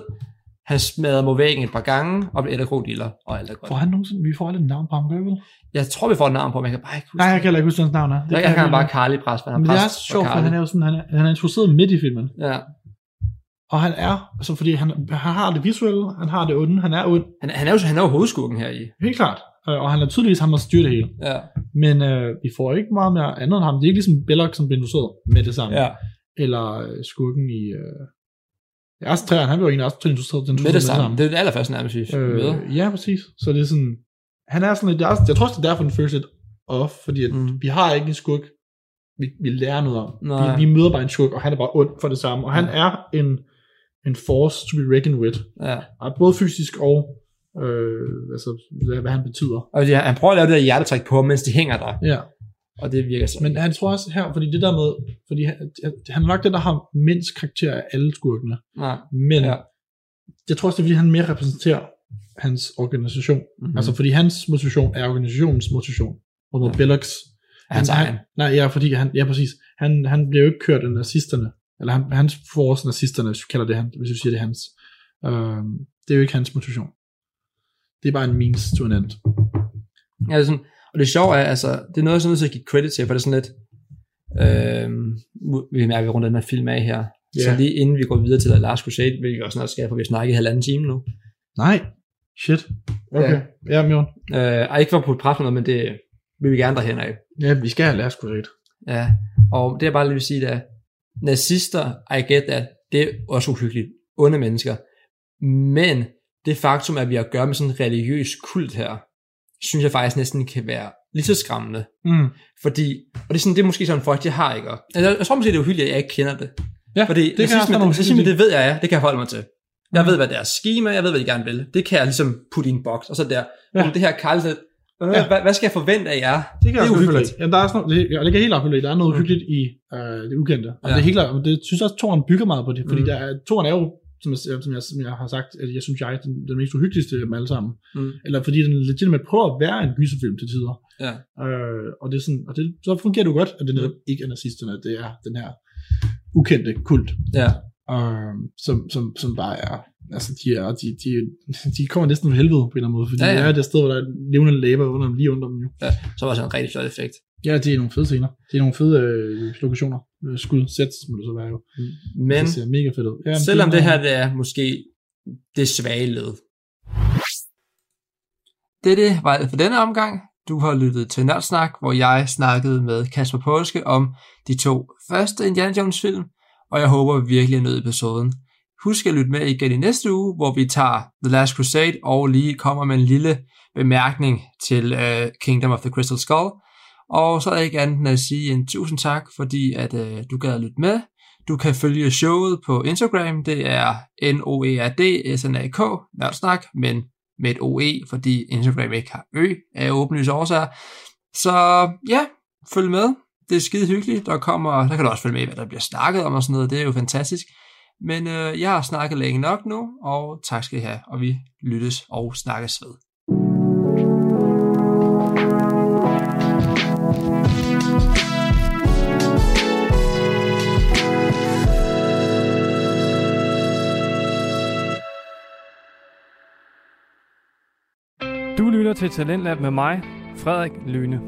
[SPEAKER 3] Han smadrer mod væggen et par gange, og bliver etterkrodiller, og alt er godt.
[SPEAKER 2] Får han nogensinde, vi får aldrig et navn på ham, gør vi vel?
[SPEAKER 3] Jeg tror, vi får et navn på, men jeg kan bare ikke huske
[SPEAKER 2] Nej, jeg kan heller ikke huske, hvad hans navn er.
[SPEAKER 3] det. Jeg kan bare Carly præst, for han
[SPEAKER 2] Men
[SPEAKER 3] er
[SPEAKER 2] det er
[SPEAKER 3] præst
[SPEAKER 2] også sjovt, for
[SPEAKER 3] Carly.
[SPEAKER 2] han er jo sådan, han er, han er introduceret midt i filmen.
[SPEAKER 3] Ja,
[SPEAKER 2] Og han er, altså fordi han, han har det visuelle, han har det onde, han er ond,
[SPEAKER 3] han, han er jo han er jo hovedskurken her i.
[SPEAKER 2] Helt klart. Øh, Og han er tydeligvis ham, der styrer det hele.
[SPEAKER 3] Ja,
[SPEAKER 2] Men øh, vi får ikke meget mere andet end ham. Det er ikke ligesom Belloc, som blev introduceret med det samme.
[SPEAKER 3] ja.
[SPEAKER 2] Eller øh, skurken i... Øh... Ja, også træerne, han blev jo egentlig også introduceret den
[SPEAKER 3] Med det samme. Det er det allerførste nærmest, vi møder.
[SPEAKER 2] Øh, ja, præcis. Så det er sådan... Han er sådan lidt... det er også- Jeg tror også, det er derfor, den føles lidt off, fordi at
[SPEAKER 3] Mm.
[SPEAKER 2] vi har ikke en skurk, vi, vi lærer noget om. Vi,
[SPEAKER 3] Nej.
[SPEAKER 2] vi, møder bare en skurk, og han er bare ond for det samme. Og han er en, en force to be reckoned with.
[SPEAKER 3] Ja.
[SPEAKER 2] Og Både fysisk og... Øh, altså, hvad, hvad han betyder.
[SPEAKER 3] Og det, han prøver at lave det der hjertetræk på, mens de hænger der,
[SPEAKER 2] Ja.
[SPEAKER 3] og det virker så.
[SPEAKER 2] Men han tror også her, fordi det der med, fordi han, han er nok den, der har mindst karakter af alle skurkene,
[SPEAKER 3] Nej.
[SPEAKER 2] men
[SPEAKER 3] Ja.
[SPEAKER 2] ja. jeg tror også, det er, fordi han mere repræsenterer hans organisation. Mm.
[SPEAKER 3] Mm-hmm.
[SPEAKER 2] Altså, fordi hans motivation er organisationens motivation, og mod
[SPEAKER 3] Ja.
[SPEAKER 2] ja. Belloc's.
[SPEAKER 3] hans egen.
[SPEAKER 2] Nej, ja, fordi han, ja, præcis. Han, han bliver jo ikke kørt af nazisterne, eller han, hans Øhm, force nazisterne, hvis vi kalder det han, hvis vi siger det er hans. Øh, det er jo ikke hans motivation. Det er bare en means to an end.
[SPEAKER 3] Ja, det er sådan, og det sjove er, altså, det er noget, jeg sådan nødt til at give credit til, for det er sådan lidt, øh, vi mærker, at vi runder den her film af her. Yeah. Så
[SPEAKER 2] Ja.
[SPEAKER 3] lige inden vi går videre til Last Crusade, hvilket vi også snart skal, for vi har snakket i halvanden time nu.
[SPEAKER 2] Nej. Shit. Okay. Ja, ja Mjørn.
[SPEAKER 3] Øh, og ikke for at putte pres på noget, men det vil vi gerne derhen af.
[SPEAKER 2] Ja, vi skal have Last Crusade.
[SPEAKER 3] Ja. Og det er bare lige vil sige, det er, nazister, I get that, det er også uhyggeligt. Onde mennesker. Men det faktum, at vi har at gøre med sådan en religiøs kult her, synes jeg faktisk næsten kan være lige så skræmmende.
[SPEAKER 2] Mm.
[SPEAKER 3] Fordi, og det er, sådan, det er måske sådan folk, de har ikke. Og jeg, jeg tror måske, det er uhyggeligt, at jeg ikke kender det.
[SPEAKER 2] Ja,
[SPEAKER 3] Fordi det,
[SPEAKER 2] også
[SPEAKER 3] nazisme,
[SPEAKER 2] være nogle
[SPEAKER 3] nazisme,
[SPEAKER 2] hyggelige
[SPEAKER 3] det ved jeg er, det kan jeg forholde mig til. Jeg ved, hvad deres schema, jeg ved, hvad de gerne vil. Det kan jeg ligesom putte i en boks, og så der. Ja.
[SPEAKER 2] Ja.
[SPEAKER 3] Det her kaldt, øh,
[SPEAKER 2] Ja.
[SPEAKER 3] hvad, hvad skal jeg forvente af jer?
[SPEAKER 2] Det kan jeg
[SPEAKER 3] det
[SPEAKER 2] også godt følge. Ja, der er sådan, noget- det, og det kan jeg helt opfylde. Der er noget
[SPEAKER 3] Mm.
[SPEAKER 2] mm. hyggeligt i øh, det ukendte. Og
[SPEAKER 3] Ja.
[SPEAKER 2] ja. det er helt klart, og det synes jeg også, Toren bygger meget på det. Fordi
[SPEAKER 3] Mm.
[SPEAKER 2] mm. der er, Toren er jo, som jeg, som, jeg, som jeg har sagt, at jeg synes, jeg er den, den mest uhyggeligste af dem alle sammen.
[SPEAKER 3] Mm.
[SPEAKER 2] Eller fordi den legitimt prøver at være en gyserfilm til tider.
[SPEAKER 3] Ja.
[SPEAKER 2] Øh, og det er sådan, og det, så fungerer det jo godt, at det
[SPEAKER 3] Mm.
[SPEAKER 2] netop ikke er nazisterne, det er den her ukendte kult,
[SPEAKER 3] Ja.
[SPEAKER 2] øh, som, som, som bare er Altså, de, er, de, de, de kommer næsten fra helvede på en eller anden måde, fordi
[SPEAKER 3] Ja,
[SPEAKER 2] ja,
[SPEAKER 3] ja.
[SPEAKER 2] ja. det er det sted, hvor der er levende læber under dem, lige under dem jo.
[SPEAKER 3] Så var det sådan en rigtig flot effekt.
[SPEAKER 2] Ja, det er nogle fede scener. Det er nogle fede øh, lokationer. Øh, Skud, sets, må det så være jo.
[SPEAKER 3] Men
[SPEAKER 2] det ser mega fedt ud. Ja, men
[SPEAKER 3] selvom det
[SPEAKER 2] er-
[SPEAKER 3] her det er måske det svage led. Det, det var alt for denne omgang. Du har lyttet til Nørdsnak, hvor jeg snakkede med Kasper Påske om de to første Indiana Jones film, og jeg håber virkelig, at I nød episoden. Husk at lytte med igen i næste uge, hvor vi tager The Last Crusade og lige kommer med en lille bemærkning til øh, Kingdom of the Crystal Skull. Og så er der ikke andet end at sige en tusind tak, fordi at øh, du gad at lytte med. Du kan følge showet på Instagram, det er n o e r d s n a k nørdsnak, men med et OE, fordi Instagram ikke har ø af åbenlyse årsager. Så ja, følg med. Det er skide hyggeligt. Der, kommer, der kan du også følge med, i, hvad der bliver snakket om og sådan noget. Det er jo fantastisk. Men øh, jeg har snakket længe nok nu, og tak skal I have, og vi lyttes og snakkes ved.
[SPEAKER 1] Du lytter til Talentlab med mig, Frederik Lyne.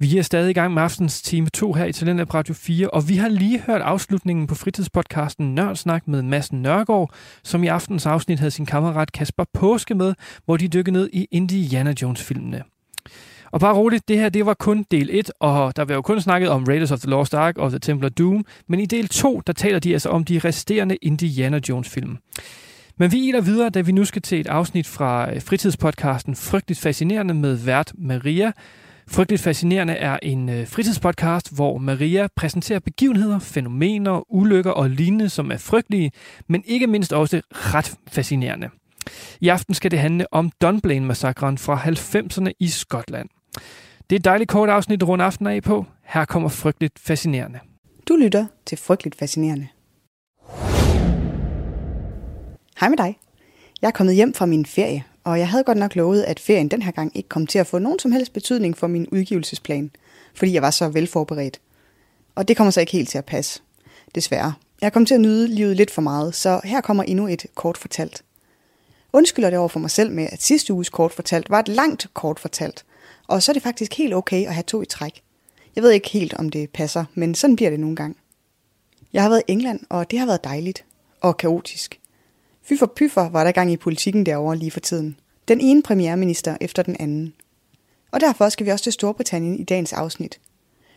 [SPEAKER 1] Vi er stadig i gang med aftens time 2 her i Talentlab Radio 4, og vi har lige hørt afslutningen på fritidspodcasten Nørdsnak med Madsen Nørgaard, som i aftens afsnit havde sin kammerat Kasper Påske med, hvor de dykkede ned i Indiana Jones-filmene. Og bare roligt, det her det var kun del 1, og der var jo kun snakket om Raiders of the Lost Ark og The Templar Doom, men i del 2, der taler de altså om de resterende Indiana Jones-film. Men vi iler videre, da vi nu skal til et afsnit fra øh, fritidspodcasten Frygteligt Fascinerende med vært Maria. Frygteligt Fascinerende er en øh, fritidspodcast, hvor Maria præsenterer begivenheder, fænomener, ulykker og lignende, som er frygtelige, men ikke mindst også ret fascinerende. I aften skal det handle om Dunblane-massakren fra 90'erne i Skotland. Det er et dejligt kort afsnit rundt aftenen af på. Her kommer Frygteligt Fascinerende.
[SPEAKER 4] Du lytter til Frygteligt Fascinerende. Hej med dig. Jeg er kommet hjem fra min ferie, og jeg havde godt nok lovet, at ferien den her gang ikke kom til at få nogen som helst betydning for min udgivelsesplan, fordi jeg var så velforberedt. Og det kommer så ikke helt til at passe. Desværre. Jeg kom til at nyde livet lidt for meget, så her kommer endnu et kort fortalt. Undskylder det over for mig selv med, at sidste uges kort fortalt var et langt kort fortalt, og så er det faktisk helt okay at have to i træk. Jeg ved ikke helt, om det passer, men sådan bliver det nogle gange. Jeg har været i England, og det har været dejligt. Og kaotisk. Fy for pyffer var der gang i politikken derovre lige for tiden. Den ene premierminister efter den anden. Og derfor skal vi også til Storbritannien i dagens afsnit.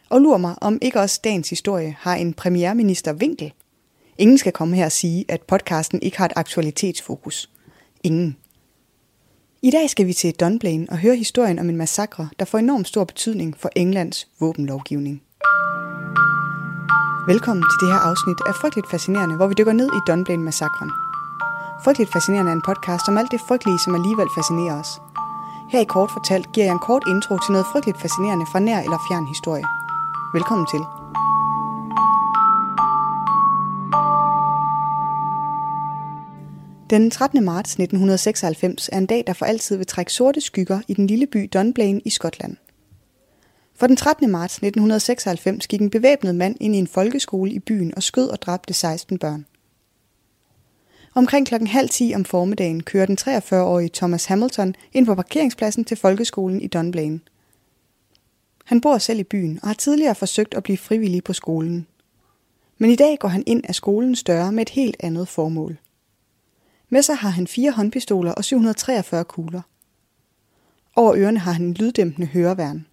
[SPEAKER 4] Og lur mig, om ikke også dagens historie har en premierministervinkel. Ingen skal komme her og sige, at podcasten ikke har et aktualitetsfokus. Ingen. I dag skal vi til Dunblane og høre historien om en massakre, der får enormt stor betydning for Englands våbenlovgivning. Velkommen til det her afsnit af Frygteligt Fascinerende, hvor vi dykker ned i Dunblane-massakren. Frygteligt Fascinerende er en podcast om alt det frygtelige, som alligevel fascinerer os. Her i Kort Fortalt giver jeg en kort intro til noget frygteligt fascinerende fra nær eller fjern historie. Velkommen til. Den 13. marts 1996 er en dag, der for altid vil trække sorte skygger i den lille by Dunblane i Skotland. For den 13. marts 1996 gik en bevæbnet mand ind i en folkeskole i byen og skød og dræbte 16 børn. Omkring klokken halv 10 om formiddagen kører den 43-årige Thomas Hamilton ind på parkeringspladsen til folkeskolen i Dunblane. Han bor selv i byen og har tidligere forsøgt at blive frivillig på skolen. Men i dag går han ind af skolens døre med et helt andet formål. Med sig har han fire håndpistoler og 743 kugler. Over ørerne har han en lyddæmpende høreværn.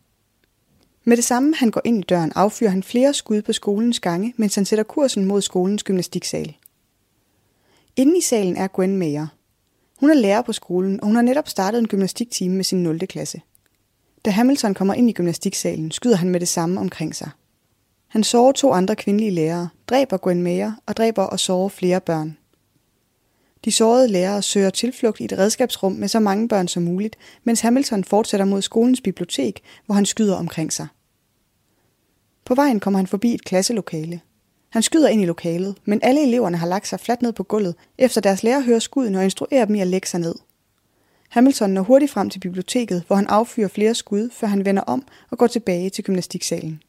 [SPEAKER 4] Med det samme han går ind i døren, affyrer han flere skud på skolens gange, mens han sætter kursen mod skolens gymnastiksal. Inde i salen er Gwen Mayer. Hun er lærer på skolen, og hun har netop startet en gymnastiktime med sin 0. klasse. Da Hamilton kommer ind i gymnastiksalen, skyder han med det samme omkring sig. Han sårer to andre kvindelige lærere, dræber Gwen Mayer og dræber og sårer flere børn. De sårede lærere søger tilflugt i et redskabsrum med så mange børn som muligt, mens Hamilton fortsætter mod skolens bibliotek, hvor han skyder omkring sig. På vejen kommer han forbi et klasselokale. Han skyder ind i lokalet, men alle eleverne har lagt sig fladt ned på gulvet, efter deres lærer hører skuden og instruerer dem i at lægge sig ned. Hamilton når hurtigt frem til biblioteket, hvor han affyrer flere skud, før han vender om og går tilbage til gymnastiksalen.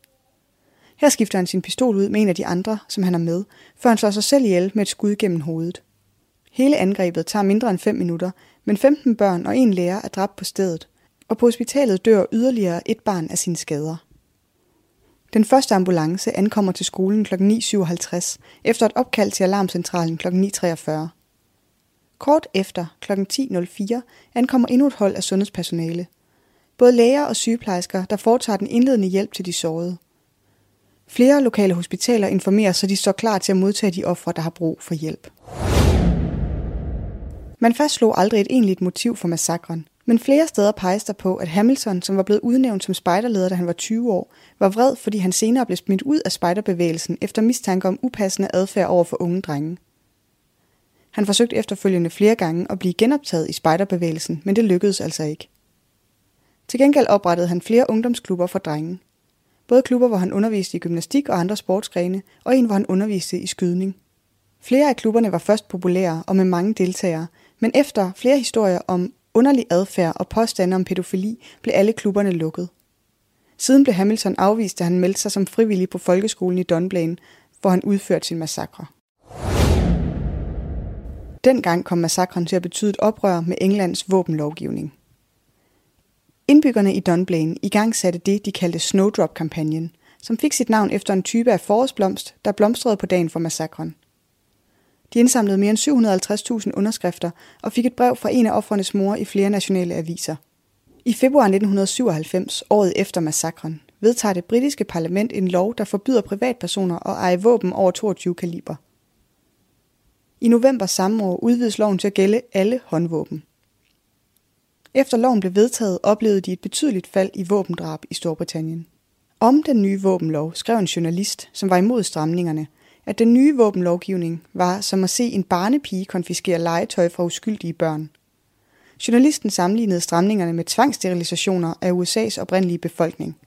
[SPEAKER 4] Her skifter han sin pistol ud med en af de andre, som han har med, før han slår sig selv ihjel med et skud gennem hovedet. Hele angrebet tager mindre end 5 minutter, men 15 børn og en lærer er dræbt på stedet, og på hospitalet dør yderligere et barn af sine skader. Den første ambulance ankommer til skolen kl. 9.57 efter et opkald til alarmcentralen kl. 9.43. Kort efter kl. 10.04 ankommer endnu et hold af sundhedspersonale. Både læger og sygeplejersker, der foretager den indledende hjælp til de sårede. Flere lokale hospitaler informerer, så de står klar til at modtage de ofre, der har brug for hjælp. Man fastslog aldrig et egentligt motiv for massakren, men flere steder peges der på, at Hamilton, som var blevet udnævnt som spejderleder, da han var 20 år, var vred, fordi han senere blev smidt ud af spejderbevægelsen efter mistanke om upassende adfærd over for unge drenge. Han forsøgte efterfølgende flere gange at blive genoptaget i spejderbevægelsen, men det lykkedes altså ikke. Til gengæld oprettede han flere ungdomsklubber for drenge. Både klubber, hvor han underviste i gymnastik og andre sportsgrene, og en, hvor han underviste i skydning. Flere af klubberne var først populære og med mange deltagere, men efter flere historier om underlig adfærd og påstande om pædofili blev alle klubberne lukket. Siden blev Hamilton afvist, da han meldte sig som frivillig på folkeskolen i Dunblane, hvor han udførte sin massakre. Dengang kom massakren til at betyde et oprør med Englands våbenlovgivning. Indbyggerne i Dunblane i gang satte det, de kaldte Snowdrop-kampagnen, som fik sit navn efter en type af forårsblomst, der blomstrede på dagen for massakren. De indsamlede mere end 750.000 underskrifter og fik et brev fra en af offernes mor i flere nationale aviser. I februar 1997, året efter massakren, vedtager det britiske parlament en lov, der forbyder privatpersoner at eje våben over 22 kaliber. I november samme år udvides loven til at gælde alle håndvåben. Efter loven blev vedtaget, oplevede de et betydeligt fald i våbendrab i Storbritannien. Om den nye våbenlov skrev en journalist, som var imod stramningerne, at den nye våbenlovgivning var som at se en barnepige konfiskere legetøj fra uskyldige børn. Journalisten sammenlignede stramningerne med tvangssterilisationer af USA's oprindelige befolkning.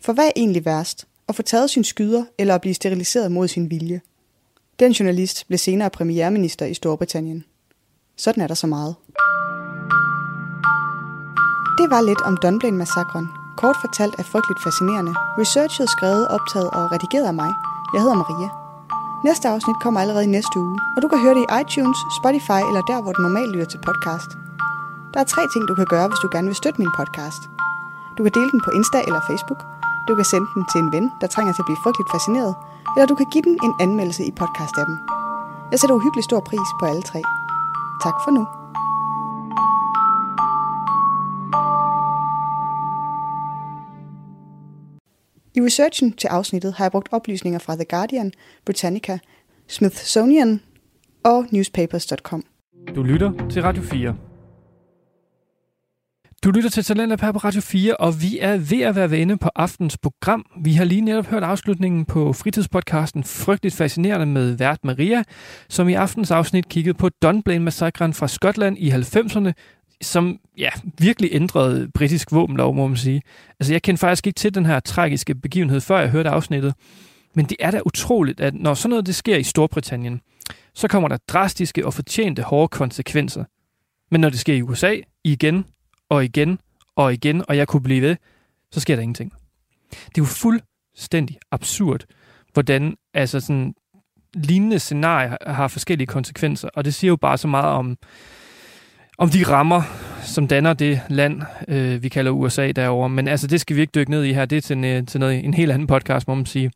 [SPEAKER 4] For hvad er egentlig værst? At få taget sin skyder eller at blive steriliseret mod sin vilje? Den journalist blev senere premierminister i Storbritannien. Sådan er der så meget. Det var lidt om Dunblane-massakren. Kort fortalt er frygteligt fascinerende. Researchet, skrevet, optaget og redigeret af mig. Jeg hedder Maria. Næste afsnit kommer allerede i næste uge, og du kan høre det i iTunes, Spotify eller der, hvor du normalt lytter til podcast. Der er tre ting, du kan gøre, hvis du gerne vil støtte min podcast. Du kan dele den på Insta eller Facebook, du kan sende den til en ven, der trænger til at blive frygteligt fascineret, eller du kan give den en anmeldelse i podcast-appen. Jeg sætter uhyggelig stor pris på alle tre. Tak for nu. I researchen til afsnittet har jeg brugt oplysninger fra The Guardian, Britannica, Smithsonian og newspapers.com.
[SPEAKER 1] Du lytter til Radio 4. Du lytter til Talentlab her på Radio 4, og vi er ved at være inde på aftens program. Vi har lige netop hørt afslutningen på fritidspodcasten Frygteligt Fascinerende med vært Maria, som i aftens afsnit kiggede på Dunblane-massakren fra Skotland i 90'erne, som ja, virkelig ændrede britisk våbenlov, må man sige. Altså, jeg kendte faktisk ikke til den her tragiske begivenhed, før jeg hørte afsnittet. Men det er da utroligt, at når sådan noget det sker i Storbritannien, så kommer der drastiske og fortjente hårde konsekvenser. Men når det sker i USA, igen og igen og igen, og jeg kunne blive ved, så sker der ingenting. Det er jo fuldstændig absurd, hvordan altså sådan, lignende scenarier har forskellige konsekvenser, og det siger jo bare så meget om, om de rammer, som danner det land, øh, vi kalder USA derovre. Men altså, det skal vi ikke dykke ned i her. Det er til, en, øh, til noget, en helt anden podcast, må man sige.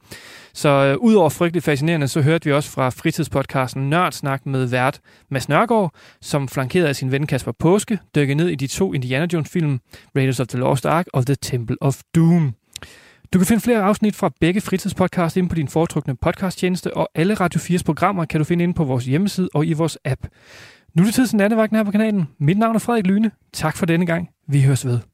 [SPEAKER 1] Så øh, udover frygteligt fascinerende, så hørte vi også fra fritidspodcasten Nørdsnak med vært Mads Nørgaard, som flankeret af sin ven Kasper Påske, dykkede ned i de to Indiana Jones-film, Raiders of the Lost Ark og The Temple of Doom. Du kan finde flere afsnit fra begge fritidspodcast inde på din foretrukne podcasttjeneste, og alle Radio 4's programmer kan du finde inde på vores hjemmeside og i vores app. Nu er det tid til nattevagten her på kanalen. Mit navn er Frederik Lyne. Tak for denne gang. Vi høres ved.